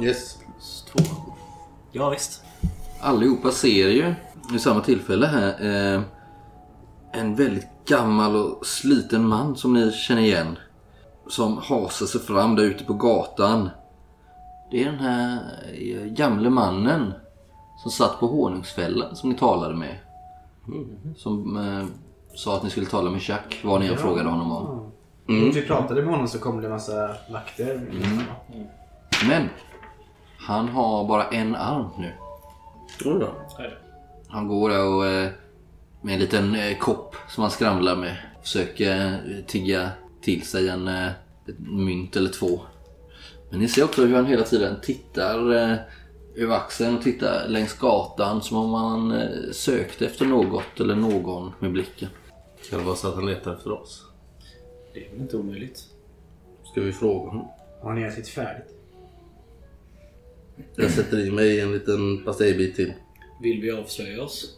G: Yes.
C: ja, visst.
F: Allihopa ser ju vid samma tillfälle här eh, en väldigt gammal och sliten man som ni känner igen. Som hasar sig fram där ute på gatan. Det är den här eh, gamle mannen som satt på honungsfällan som ni talade med. Som eh, sa att ni skulle tala med Jack, vad ni än frågade honom om.
D: Mm. När vi pratade med honom så kom det en massa vakter.
G: Mm.
F: Men han har bara en arm nu.
G: Tror jag.
F: Han går där och eh, med en liten eh, kopp som han skramlar med. Försöker eh, tigga till sig en eh, ett mynt eller två. Men ni ser också hur han hela tiden tittar eh, över axeln och tittar längs gatan som om han eh, sökte efter något eller någon med blicken.
G: Kan det vara så att han letar efter oss?
C: Det är väl inte omöjligt.
G: Ska vi fråga honom?
D: Har ni ätit färdigt?
G: Jag sätter i mig en liten pastejbit till.
C: Vill vi avslöja oss?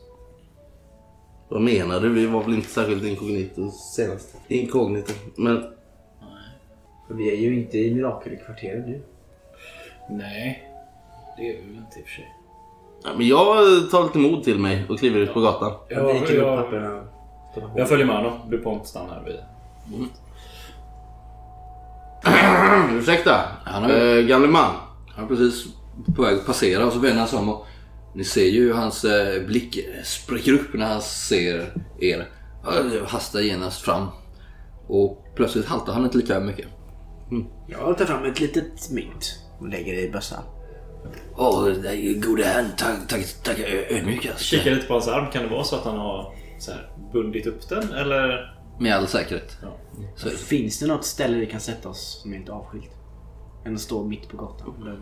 G: Vad menar du? Vi var väl inte särskilt inkognito senast? Inkognito. Men
D: För vi är ju inte i mirakelkvarteret nu.
C: Nej, det är vi väl inte i och för sig.
G: Ja, men jag eh, tar lite mod till mig och kliver ut på gatan.
D: Jag viker upp
C: jag,
D: papperna och stoppar på.
C: jag följer med honom. DuPont stannar vid.
G: Ursäkta,
F: Han är-
G: eh, gamle man.
F: Han är precis på väg att passera och så vänder han sig om och ni ser ju hur hans eh, blick spricker upp när han ser er. Han hastar genast fram. Och plötsligt haltar han inte lika mycket.
B: Jag tar fram ett litet mynt och lägger det i bössan.
F: Åh, gode herrn, tack, tack, tack ö- ödmjukast.
G: alltså.
C: Kikar lite på hans arm. Kan det vara så att han har så här, bundit upp den? Eller?
F: Med all säkerhet.
C: Ja.
F: Så,
D: Finns det något ställe vi kan sätta oss som är inte avskilt? Än att stå mitt på gatan. Där-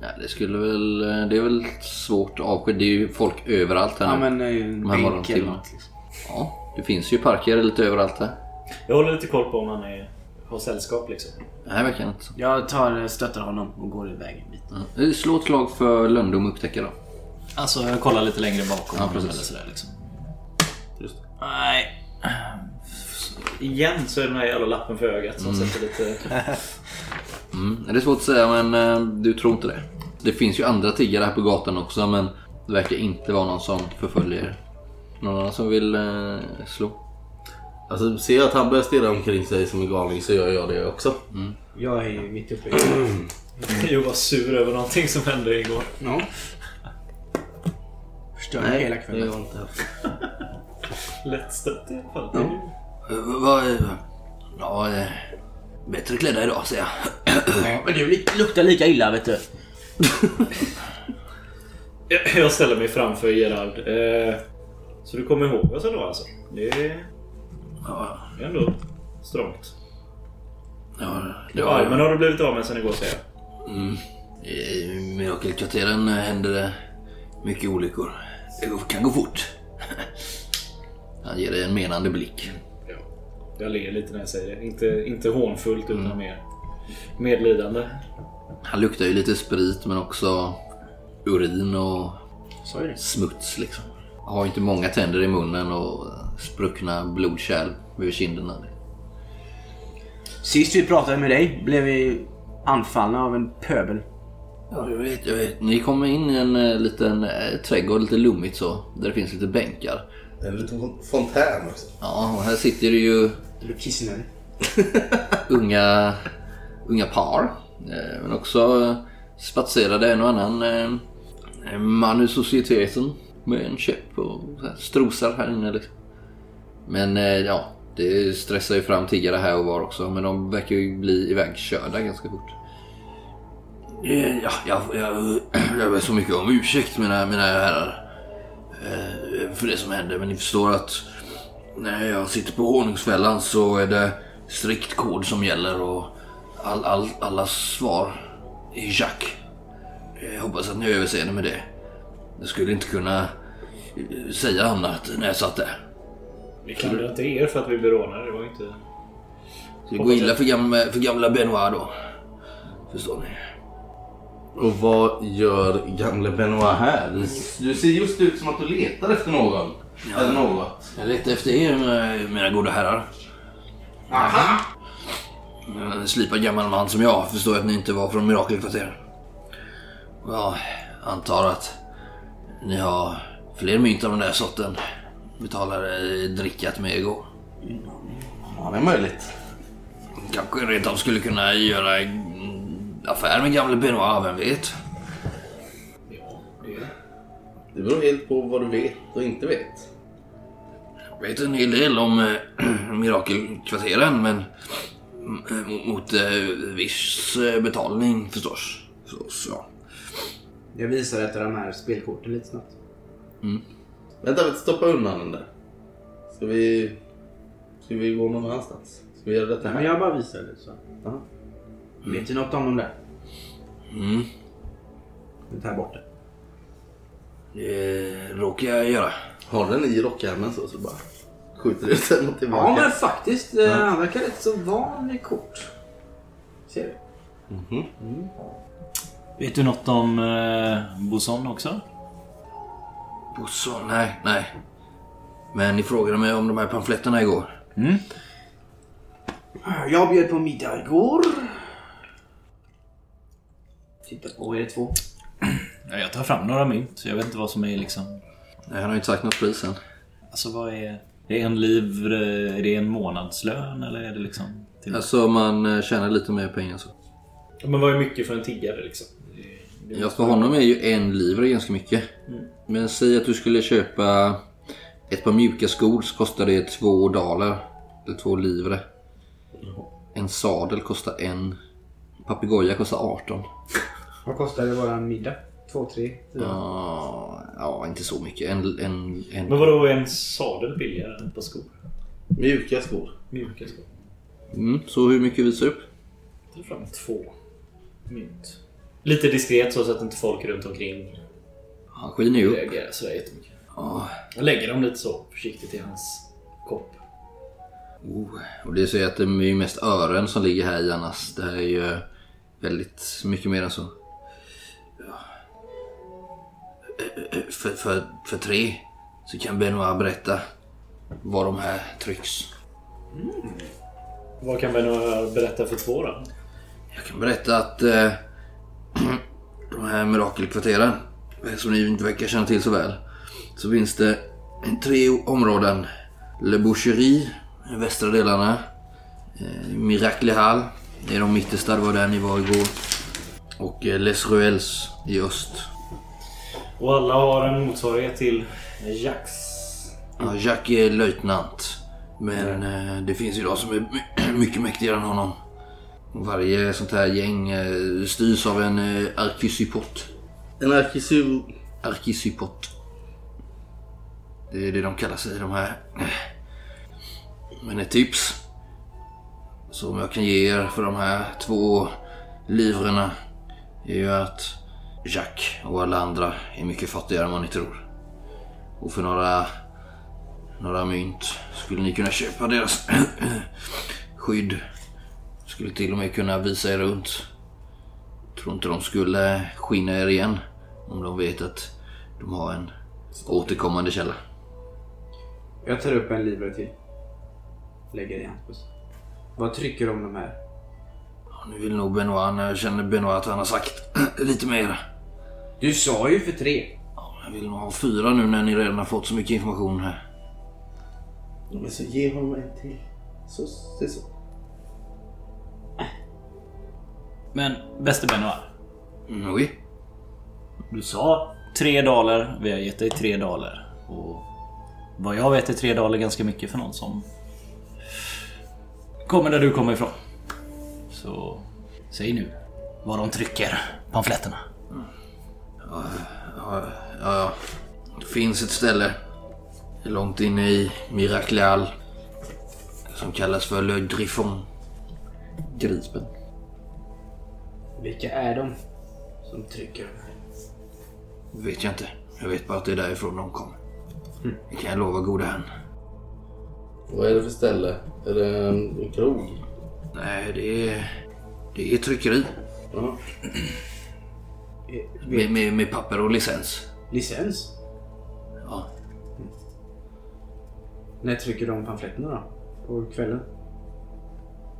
F: ja, det skulle väl... eh, Det är väl svårt att avskilja. Det är ju folk överallt här
D: Ja
F: nu.
D: men eh, en
F: Men var de
D: bänk eller
F: till?
D: något. Liksom.
F: Ja, det finns ju parker lite överallt här.
C: Jag håller lite koll på om han är, har sällskap liksom.
F: Nej, verkar inte så.
D: Jag tar, eh, stöttar honom och går iväg en bit.
F: Mm. Slå ett slag för löndom och upptäcka då.
C: Alltså jag kollar lite längre bakom
F: Ja, precis.
C: sådär liksom.
G: Just det.
C: Nej. Igen så är det den här jävla lappen för ögat som sätter lite...
F: Mm. Det är svårt att säga, men eh, du tror inte det. Det finns ju andra tiggare här på gatan också, men det verkar inte vara någon som förföljer er. Någon annan som vill eh, slå?
G: Alltså, ser jag att han börjar stirra omkring sig som en galning så gör jag det också.
F: Mm.
D: Jag är ju mitt uppe i...
C: Jag var sur över någonting som hände igår.
D: Ja. Förstör hela
G: det
D: kvällen.
G: gör jag inte.
F: Eh,
G: heller.
C: Lättstött i alla fall.
F: Uh, vad... ja, eh, bättre klädda idag, säger jag.
D: Ja, men du luk- luktar lika illa vet du.
C: Jag- Jag ställer mig framför Gerard. Eh, så du kommer ihåg oss ändå alltså? Det är
F: Ja,
C: det är ändå strångt.
F: ja, det var Mm.
C: Armen har du blivit av med sen igår säger jag.
F: I Mirakelkvarteren händer det mycket olyckor. Det går- kan gå fort. Han ger dig en menande blick.
C: Ja. Jag ler lite när jag säger det. Inte, inte hånfullt utan mer medlidande.
F: Han luktar ju lite sprit men också urin och
D: Sa ju det.
F: smuts liksom. Har inte många tänder i munnen och spruckna blodkärl över kinderna.
D: Sist vi pratade med dig blev vi anfallna av en pöbel.
F: Ja, jag vet, jag vet. Ni kommer in i en eh, liten eh, trädgård, lite lummigt så, där det finns lite bänkar.
G: Det är en liten fontän också.
F: Ja, och här sitter det ju
D: Du blev kissnödig.
F: unga, unga par. Eh, Men också eh, spatserade en och annan eh, man ur societeten med en käpp och så här strosar här inne. Liksom. Men eh, ja, det stressar ju fram tiggare här och var också. Men de verkar ju bli ivägkörda ganska fort. Eh, Ja, jag, jag, jag ber så mycket om ursäkt mina, mina herrar. eh, För det som hände. Men ni förstår att när jag sitter på honungsfällan så är det strikt kod som gäller och all, all, alla svar är Jack. Jag hoppas att ni har överseende med det. Jag skulle inte kunna eh, säga annat när jag satt där.
C: Vi klandrar inte er för att vi blir rånade. Det var ju inte...
G: Så det går illa för gamla, för gamla Benoit då. Förstår ni?
B: Och vad gör gamle Benoit här? Du- Du ser just ut som att du letar efter någon. Eller något.
G: Jag letar efter er, mina- mina goda herrar.
B: Aha!
G: En slipad gammal man som jag förstår att ni inte var från Mirakelkvarteret. Jag antar att ni har fler mynt av den där sorten. Vi talade i drickat med igår.
B: Ja, det är möjligt.
G: Kanske rent av skulle kunna göra mm, affär med gamle Benoit, vem vet?
B: Det beror helt på vad du vet och inte vet.
G: Jag vet en hel del om eh, Mirakelkvarteren, men mm, eh, mot eh, viss eh, betalning förstås. Så, så.
H: Jag visar ett av de här spelkorten lite snabbt.
B: Vänta, stoppa undan den där. Ska vi... Ska vi gå någon annanstans? Ska vi göra detta
H: Men
B: här?
H: jag bara visar lite så.
B: Ja.
H: Vet du något om dem där?
G: Mm.
H: Det här borta.
G: Det råkar jag göra.
B: Har den i rockärmen så, så bara skjuter ut den mot
H: Ja
B: tillbaka.
H: men faktiskt, eh, han verkar rätt så van vid kort. Ser du?
C: Vet du något om eh, Boson också?
G: Bosse, nej, nej. Men ni frågade mig om de här pamfletterna igår.
H: Jag bjöd på middag igår. Titta på er två.
C: Ja, Jag tar fram några mynt. Jag vet inte vad som är liksom...
G: Nej, han har inte sagt något pris än.
C: Alltså vad är... Det är en livre, är det en månadslön eller är det liksom... Till...
G: Alltså man eh, tjänar lite mer pengar så.
C: Men vad är mycket för en tiggare liksom?
G: Ja, för honom är ju en livre ganska mycket. Men säg att du skulle köpa ett par mjuka skor så kostar det två daler. Eller två livre. En sadel kostar en. Papegoja kostar 18.
H: Vad kostade våran middag? Två, tre, fyra?
G: Ja, ja inte så mycket. En, en, en...
C: Men vadå, är en sadel billigare än ett par skor?
B: Mjuka skor.
C: Mjuka skor.
G: Mm, så hur mycket visar du upp?
C: Jag tar fram två mynt. Lite diskret så att inte folk runt omkring
G: Han skiner ju upp.
C: reagerar sådär jättemycket.
G: Ja,
C: Jag lägger dem lite så försiktigt i hans kopp.
G: Oh, och det säger att det är ju mest ören som ligger här i annars. Det här är ju väldigt mycket mer än så. Ja. Eh, eh, För, för, för tre så kan Benoit berätta var de här trycks.
C: Vad kan vi nu berätta för två då?
G: Jag kan berätta att eh, de här mirakelkvarteren, eh, som ni inte verkar känna till så väl, så finns det tre områden. Le Boucherie, i västra delarna. Eh, Miracle Hall, det är de mittersta, det var där ni var igår. Och eh, Les Ruelles i öst.
C: Och alla har en motsvarighet till Jax.
G: Ja, Jacques är löjtnant, men eh, det finns ju de som är my- mycket mäktigare än honom. Varje sånt här gäng eh, styrs av en eh, arkisypot.
B: En arkisu...
G: Arkisypot. Det är det de kallar sig de här. Men ett tips som jag kan ge er för de här två livrena är ju att Jack och alla andra är mycket fattigare än vad ni tror. Och för några, några mynt skulle ni kunna köpa deras skydd. Skulle till och med kunna visa er runt tror inte de skulle skina er igen om de vet att de har en återkommande källa.
H: Jag tar upp en livre till. Lägger i hans puss. Vad trycker de de här?
G: Och Nu vill nog Benoit, när jag känner Benoit att han har sagt lite mer.
H: Du sa ju för tre.
G: Jag vill nog ha fyra nu när ni redan har fått så mycket information här.
B: Men så ge honom en till. Så, se så.
C: Men bäste Benoit,
G: Mm, oj.
C: du sa tre daler. Vi har gett dig tre daler. Och vad jag vet är tre daler ganska mycket för någon som kommer där du kommer ifrån. Så säg nu vad de trycker pamfletterna.
G: Ja, ja. Det finns ett ställe långt inne i Miracleal som kallas för Le Griffon. Gripen.
H: Vilka är de som trycker de här?
G: Vet jag inte. Jag vet bara att det är därifrån de kommer. Det kan jag lova gode herrn.
B: Vad är det för ställe? Är det en, en krog?
F: Nej, det är, det är tryckeri.
D: Eh,
F: Med, med, med papper och licens.
D: Licens? Mm.
F: Ja.
D: När trycker de pamfletterna då? På kvällen?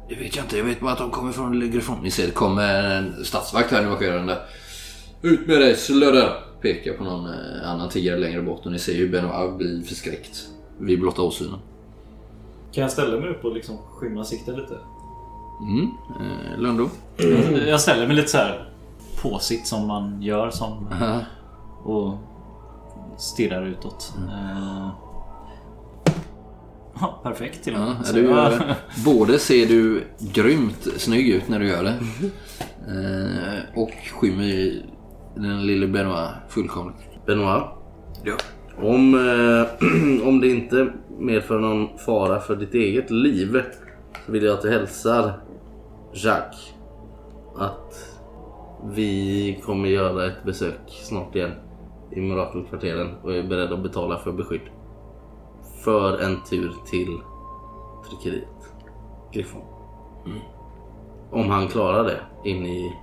F: Det vet jag inte. Jag vet bara att de kommer från längre ifrån. Ni ser, det kommer en statsvakt här nu bakom den där. Ut med dig, slödda! Pekar på någon eh, annan tiggare längre bort och ni ser ju Ben och Ab blir förskräckt vid blotta åsynen.
C: Kan jag ställa mig upp och liksom skymma sikten lite?
F: Mm. Eh, Lundo?
C: Jag ställer mig lite så här påsitt som man gör som, och stirrar utåt.
F: Mm.
C: Eh, ja, perfekt till och
F: Ja,
C: med.
F: är
C: Så
F: du,
C: jag-
F: både ser du grymt snygg ut när du gör det eh, och skymmer ju den lille Benoit fullkomligt.
G: Benoit?
F: Ja.
G: Om, eh, om det inte medför någon fara för ditt eget liv så vill jag att du hälsar Jacques att vi kommer göra ett besök snart igen i Mirakelkvarteren och är beredda att betala för beskydd. För en tur till tryckeriet. Griffon.
F: Mm.
G: Om han klarar det in i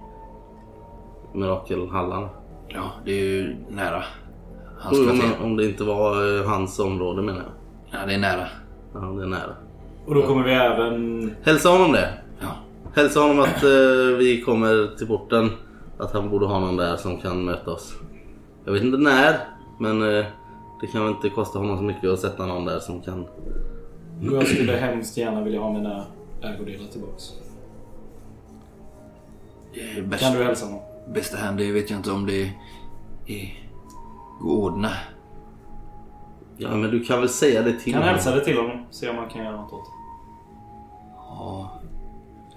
G: Mirakelhallarna.
F: Ja, det är ju nära. Hans
G: Om,
F: kvarter.
G: om det inte var eh, hans område menar jag.
F: Ja, det är nära.
G: Ja, det är nära.
C: och då kommer vi även...
G: Hälsa honom det.
F: Ja.
G: Hälsa honom att eh, vi kommer till porten. Att han borde ha någon där som kan möta oss. Jag vet inte när, men eh, det kan väl inte kosta honom så mycket att sätta någon där som kan.
C: och Jag skulle hemskt gärna vilja ha mina ägodelar tillbaks.
F: Det är bäst,
C: Kan du hälsa honom?
F: bästa hem, det vet jag inte om det är, är går att ordna.
G: Ja, men du kan väl säga det till
C: Kan
G: honom?
C: hälsa det till honom. Se om man kan göra något åt det.
F: Ja,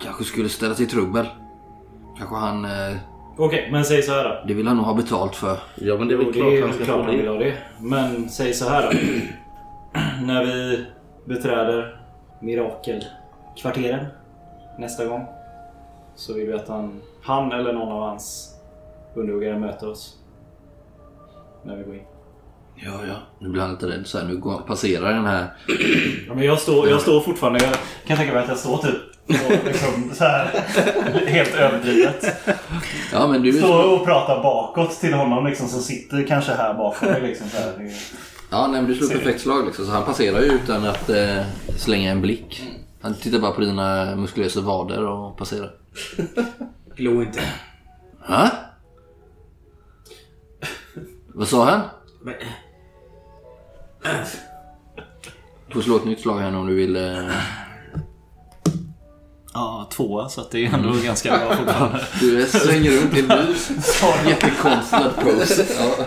F: kanske skulle ställa till trubbel. Kanske han, eh,
C: Okej, men säg så här då.
F: det vill han nog ha betalt för.
G: Ja, men det är väl
C: Jo,
G: klart
C: det är
G: han
C: väl
G: ska
C: klart
G: få
C: han vill
G: det.
C: ha det. Men säg så här då. När vi beträder Mirakelkvarteren nästa gång så vill vi att han, han eller någon av hans underhuggare möter oss. När vi går in.
F: Ja, ja. Nu blir han lite rädd så här. Nu går, passerar den här.
C: Ja, men jag, står, jag står fortfarande... Jag kan tänka mig att jag står typ och liksom så här, helt överdrivet.
F: Ja, men du är
C: Står och pratar bakåt till honom liksom, som sitter kanske här bakom mig. Liksom, så här.
F: Ja, nej, men du slog perfekt slag liksom, så han passerar ju utan att eh, slänga en blick. Han tittar bara på dina muskulösa vader och passerar.
D: Glo inte.
F: Hä? Äh? Vad sa han?
D: Men,
F: Du får slå ett nytt slag här nu om du vill. Eh,
C: Ja, tvåa så det är ändå ganska bra fortfarande.
F: du svänger runt i en ny jättekonstlad pose. Ja.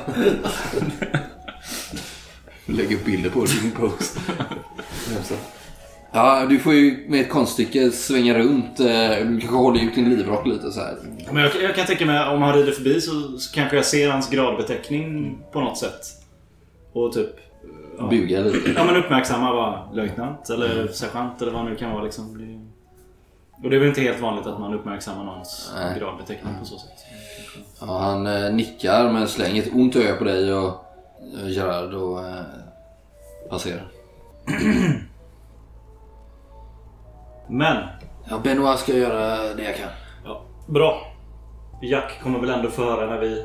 F: Lägg upp bilder på din pose. Ja, du får ju med ett konststycke svänga runt. eh, Du kanske håller ut din livrock lite så här.
C: Men jag, jag kan tänka mig om han rider förbi så, så kanske jag ser hans gradbeteckning på något sätt. Och typ... Ja,
F: Buga lite.
C: ja men uppmärksamma bara löjtnant eller sergeant eller vad det nu kan vara liksom. Det, och det är väl inte helt vanligt att man uppmärksammar någons
F: Nej.
C: gradbeteckning på så sätt.
F: Ja, han eh, nickar men slänger ett ont öga på dig och eh, Gerard och eh, passerar.
C: Men,
F: Ja, Benoit ska göra det jag kan.
C: ja, bra. Jack kommer väl ändå få höra när vi...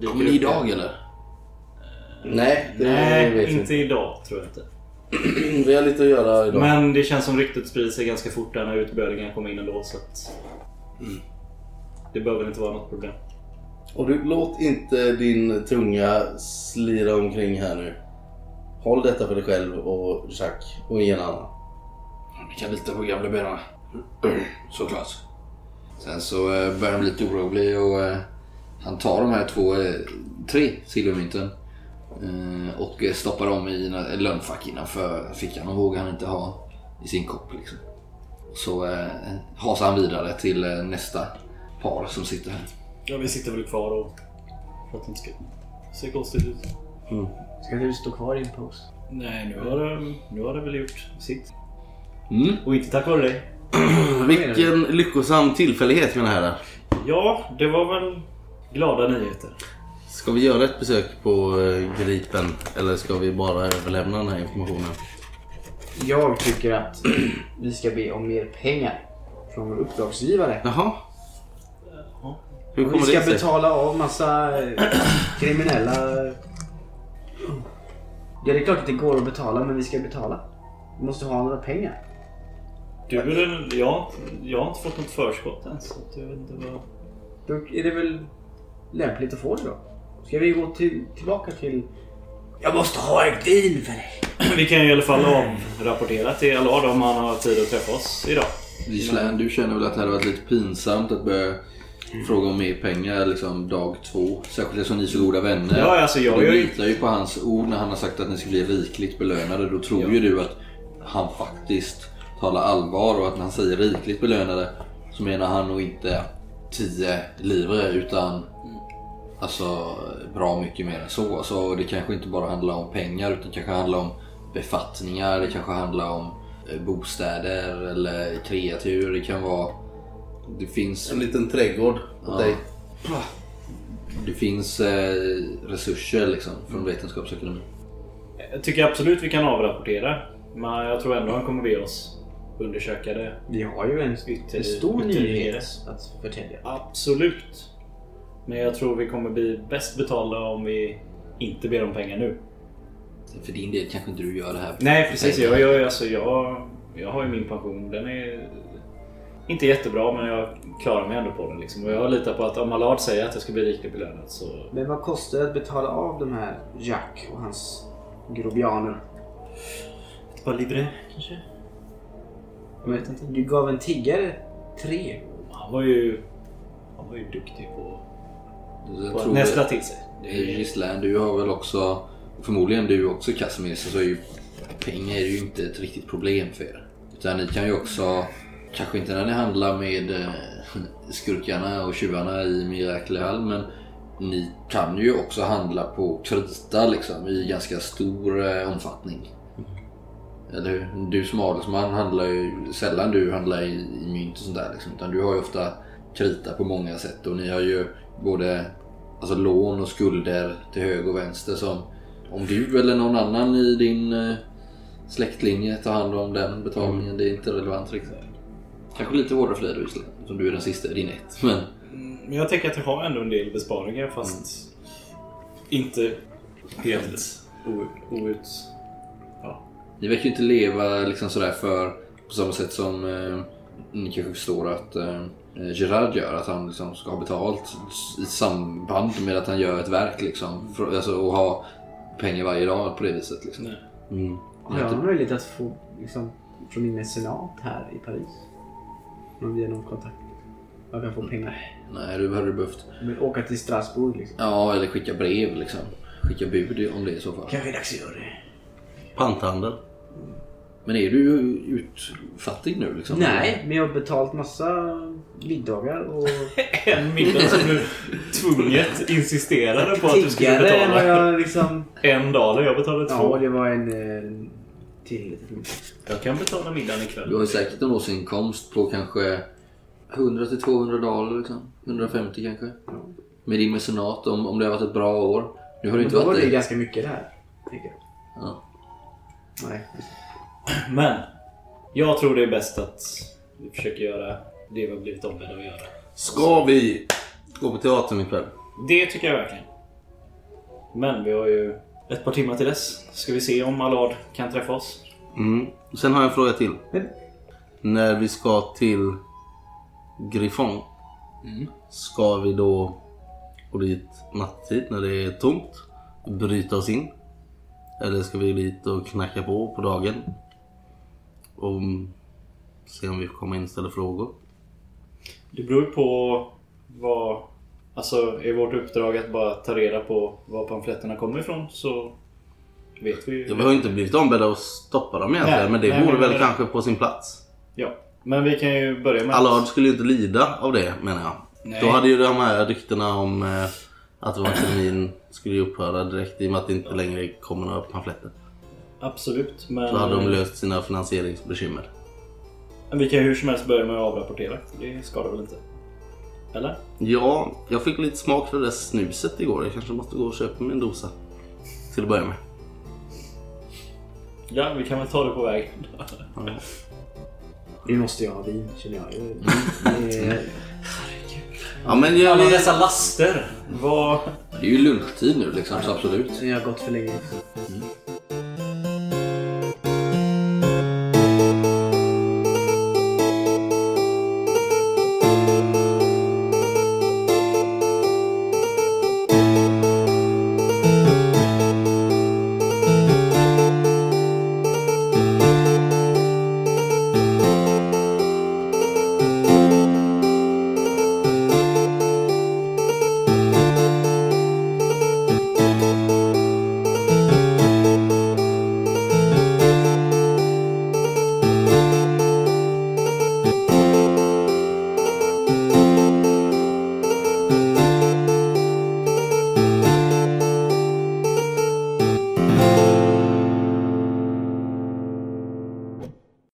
C: dyker
F: Kommer ni
C: upp
F: idag
C: igen.
F: eller?
G: Nej, det vet
C: Nej,
G: vi
C: inte idag tror jag inte.
G: inte. Vi har lite att göra idag.
C: Men det känns som ryktet sprider sig ganska fort där när utbödingen kommer in ändå så att... Det behöver inte vara något problem.
G: Och du, låt inte din tunga slira omkring här nu. Håll detta för dig själv och Jacques och ingen annan.
F: Vi kan lita på gamla Benoit. Såklart. Sen så eh, börjar han bli lite orolig och eh, han tar de här två, eh, tre silvermynten eh, och eh, stoppar dem i en en lönnfack innanför fickan. De vågar han inte ha i sin kopp liksom. Så eh, hasar han vidare till eh, nästa par som sitter här.
C: Ja, vi sitter väl kvar och... För att det inte ska se konstigt ut.
D: ska du stå kvar i din pose?
C: Nej, nu har, det, nu har det väl gjort sitt.
F: Mm.
C: Och inte tack vare dig.
G: Vilken lyckosam tillfällighet mina herrar.
C: Ja, det var väl glada nyheter.
G: Ska vi göra ett besök på eh, Gripen eller ska vi bara överlämna den här informationen?
D: Jag tycker att vi ska be om mer pengar från vår uppdragsgivare.
G: Jaha. Hur
D: Och vi
G: kommer det
D: ska
G: sig?
D: betala av massa eh, kriminella... Ja, det är klart att det går att betala, men vi ska betala. Vi måste ha några pengar.
C: Du är väl... Jag, jag har inte fått något förskott än. Så att jag vet inte vad...
D: Då är det väl lämpligt att få det då. Ska vi gå till, tillbaka till... Jag måste ha en deal för dig!
C: Vi kan ju i alla fall avrapportera till Allard om han har tid att träffa oss idag.
F: Gislaine, du känner väl att det hade varit lite pinsamt att börja fråga om mer pengar liksom dag två? Särskilt eftersom ni är så goda vänner.
C: Ja, alltså, jag gör
F: du
C: ju-
F: litar ju på hans ord när han har sagt att ni ska bli rikligt belönade. Då tror ju du att han faktiskt talar allvar och att när han säger rikligt belönade så menar han nog inte 10 livre utan alltså bra mycket mer än så. Alltså, det kanske inte bara handlar om pengar utan kanske handlar om befattningar, det kanske handlar om eh, bostäder eller kreatur. Det kan vara... Det finns,
G: En liten trädgård åt
F: Ja.
G: dig.
F: det finns eh, resurser liksom från Vetenskapsakademin.
C: Jag tycker absolut vi kan avrapportera. Men jag tror ändå han kommer be oss undersöka det.
D: Vi har ju en, en stor
C: ytterligare.
D: nyhet att förtälja.
C: Absolut. Men jag tror vi kommer bli bäst betalda om vi inte ber om pengar nu.
F: För din del kanske inte du gör det här.
C: Nej precis, jag, jag, alltså, jag, jag har ju min pension. Den är inte jättebra men jag klarar mig ändå på den. Liksom. Och jag litar på att om Allard säger att jag ska bli riktigt belönad så...
D: Men vad kostar det att betala av de här Jack och hans grobianer?
C: Ett par livre kanske?
D: Men du gav en tiggare tre.
C: Han var ju, han var ju duktig på,
F: Jag
C: på att
F: tror-
C: nästla till sig.
F: Gislaine, du har väl också, förmodligen du också Casimir, så är ju pengar är ju inte ett riktigt problem för er. Utan ni kan ju också, kanske inte när ni handlar med eh, skurkarna och tjuvarna i Miracle men ni kan ju också handla på krita liksom i ganska stor eh, omfattning. Eller hur? Du som adelsman handlar ju sällan du handlar i, i mynt och sånt där liksom. Utan du har ju ofta krita på många sätt och ni har ju både alltså lån och skulder till höger och vänster som om du eller någon annan i din eh, släktlinje tar hand om den betalningen, det är inte relevant riktigt. Kanske lite hårdare för dig då Isla, som du är den sista i din ett. Men
C: Mm, Men jag tänker att jag har ändå en del besparingar fast inte Mm. helt o- out...
F: ni verkar ju inte leva liksom sådär för på samma sätt som eh, ni kanske förstår att eh, Gerard gör, att han liksom ska ha betalt i samband med att han gör ett verk liksom. För, alltså, och ha pengar varje dag på det viset liksom.
C: Nej.
F: Mm.
D: Har jag någon möjlighet att få liksom, från min mecenat här i Paris? Om vi har någon kontakt. Jag kan få pengar.
F: Nej, du hade behövt
D: Men åka till Strasbourg liksom.
F: Ja, eller skicka brev liksom. Skicka bud om det i så fall.
D: Kanske är det dags att göra det.
G: Panthandel.
F: Men är du utfattig nu liksom?
D: Nej, men jag har betalt massa middagar och
C: En middag som du tvunget insisterade på att du skulle
D: tiggare än vad
C: betala.
D: jag liksom...
C: En dollar, jag betalade
D: Ja,
C: två.
D: det var en eh, till liten
C: Jag kan betala middagen ikväll.
F: Du har ju säkert en årsinkomst på kanske 100 till 200 dollar liksom. 150 kanske. Med din mecenat om, om det har varit ett bra år. Nu har
D: Men
F: det inte
D: då var
F: varit
D: det ju
F: det.
D: ganska mycket det här. Tycker jag.
F: Ja.
D: Nej.
C: Men jag tror det är bäst att vi försöker göra det vi har blivit ombedda att göra.
G: Ska vi gå på teatern ikväll?
C: Det tycker jag verkligen. Men vi har ju ett par timmar till dess. Ska vi se om Allard kan träffa oss?
G: Mm. Sen har jag en fråga till.
D: Men-
G: När vi ska till Griffon. Mm. Ska vi då gå dit nattetid när det är tomt? Bryta oss in? Eller ska vi dit och knacka på på dagen? Och se om vi får komma in och ställa frågor?
C: Det beror ju på vad... Alltså, är vårt uppdrag att bara ta reda på var pamfletterna kommer ifrån så vet vi
G: Ja,
C: ju.
G: vi har ju inte blivit ombedda att stoppa dem egentligen
C: Nej,
G: men det
C: nej,
G: vore
C: men-
G: väl kanske på sin plats.
C: Ja. Men vi kan ju börja med...
G: Allard skulle ju inte lida av det menar jag.
C: Nej.
G: Då hade ju de här ryktena om eh, att vår termin skulle ju upphöra direkt i och med att det inte längre kommer några pamfletter.
C: Absolut, men...
G: Då hade de löst sina finansieringsbekymmer.
C: Men Vi kan ju hur som helst börja med att avrapportera. Det skadar väl inte? Eller?
G: Ja, jag fick lite smak för det där snuset igår. Jag kanske måste gå och köpa mig en dosa. Till att börja med.
C: Ja, vi kan väl ta det på väg.
H: Nu måste jag ha vin känner jag.
I: Ja, men jag,
C: Alla dessa laster. Vad...
G: Det är ju lunchtid nu liksom, så absolut.
H: Jag har gått för länge.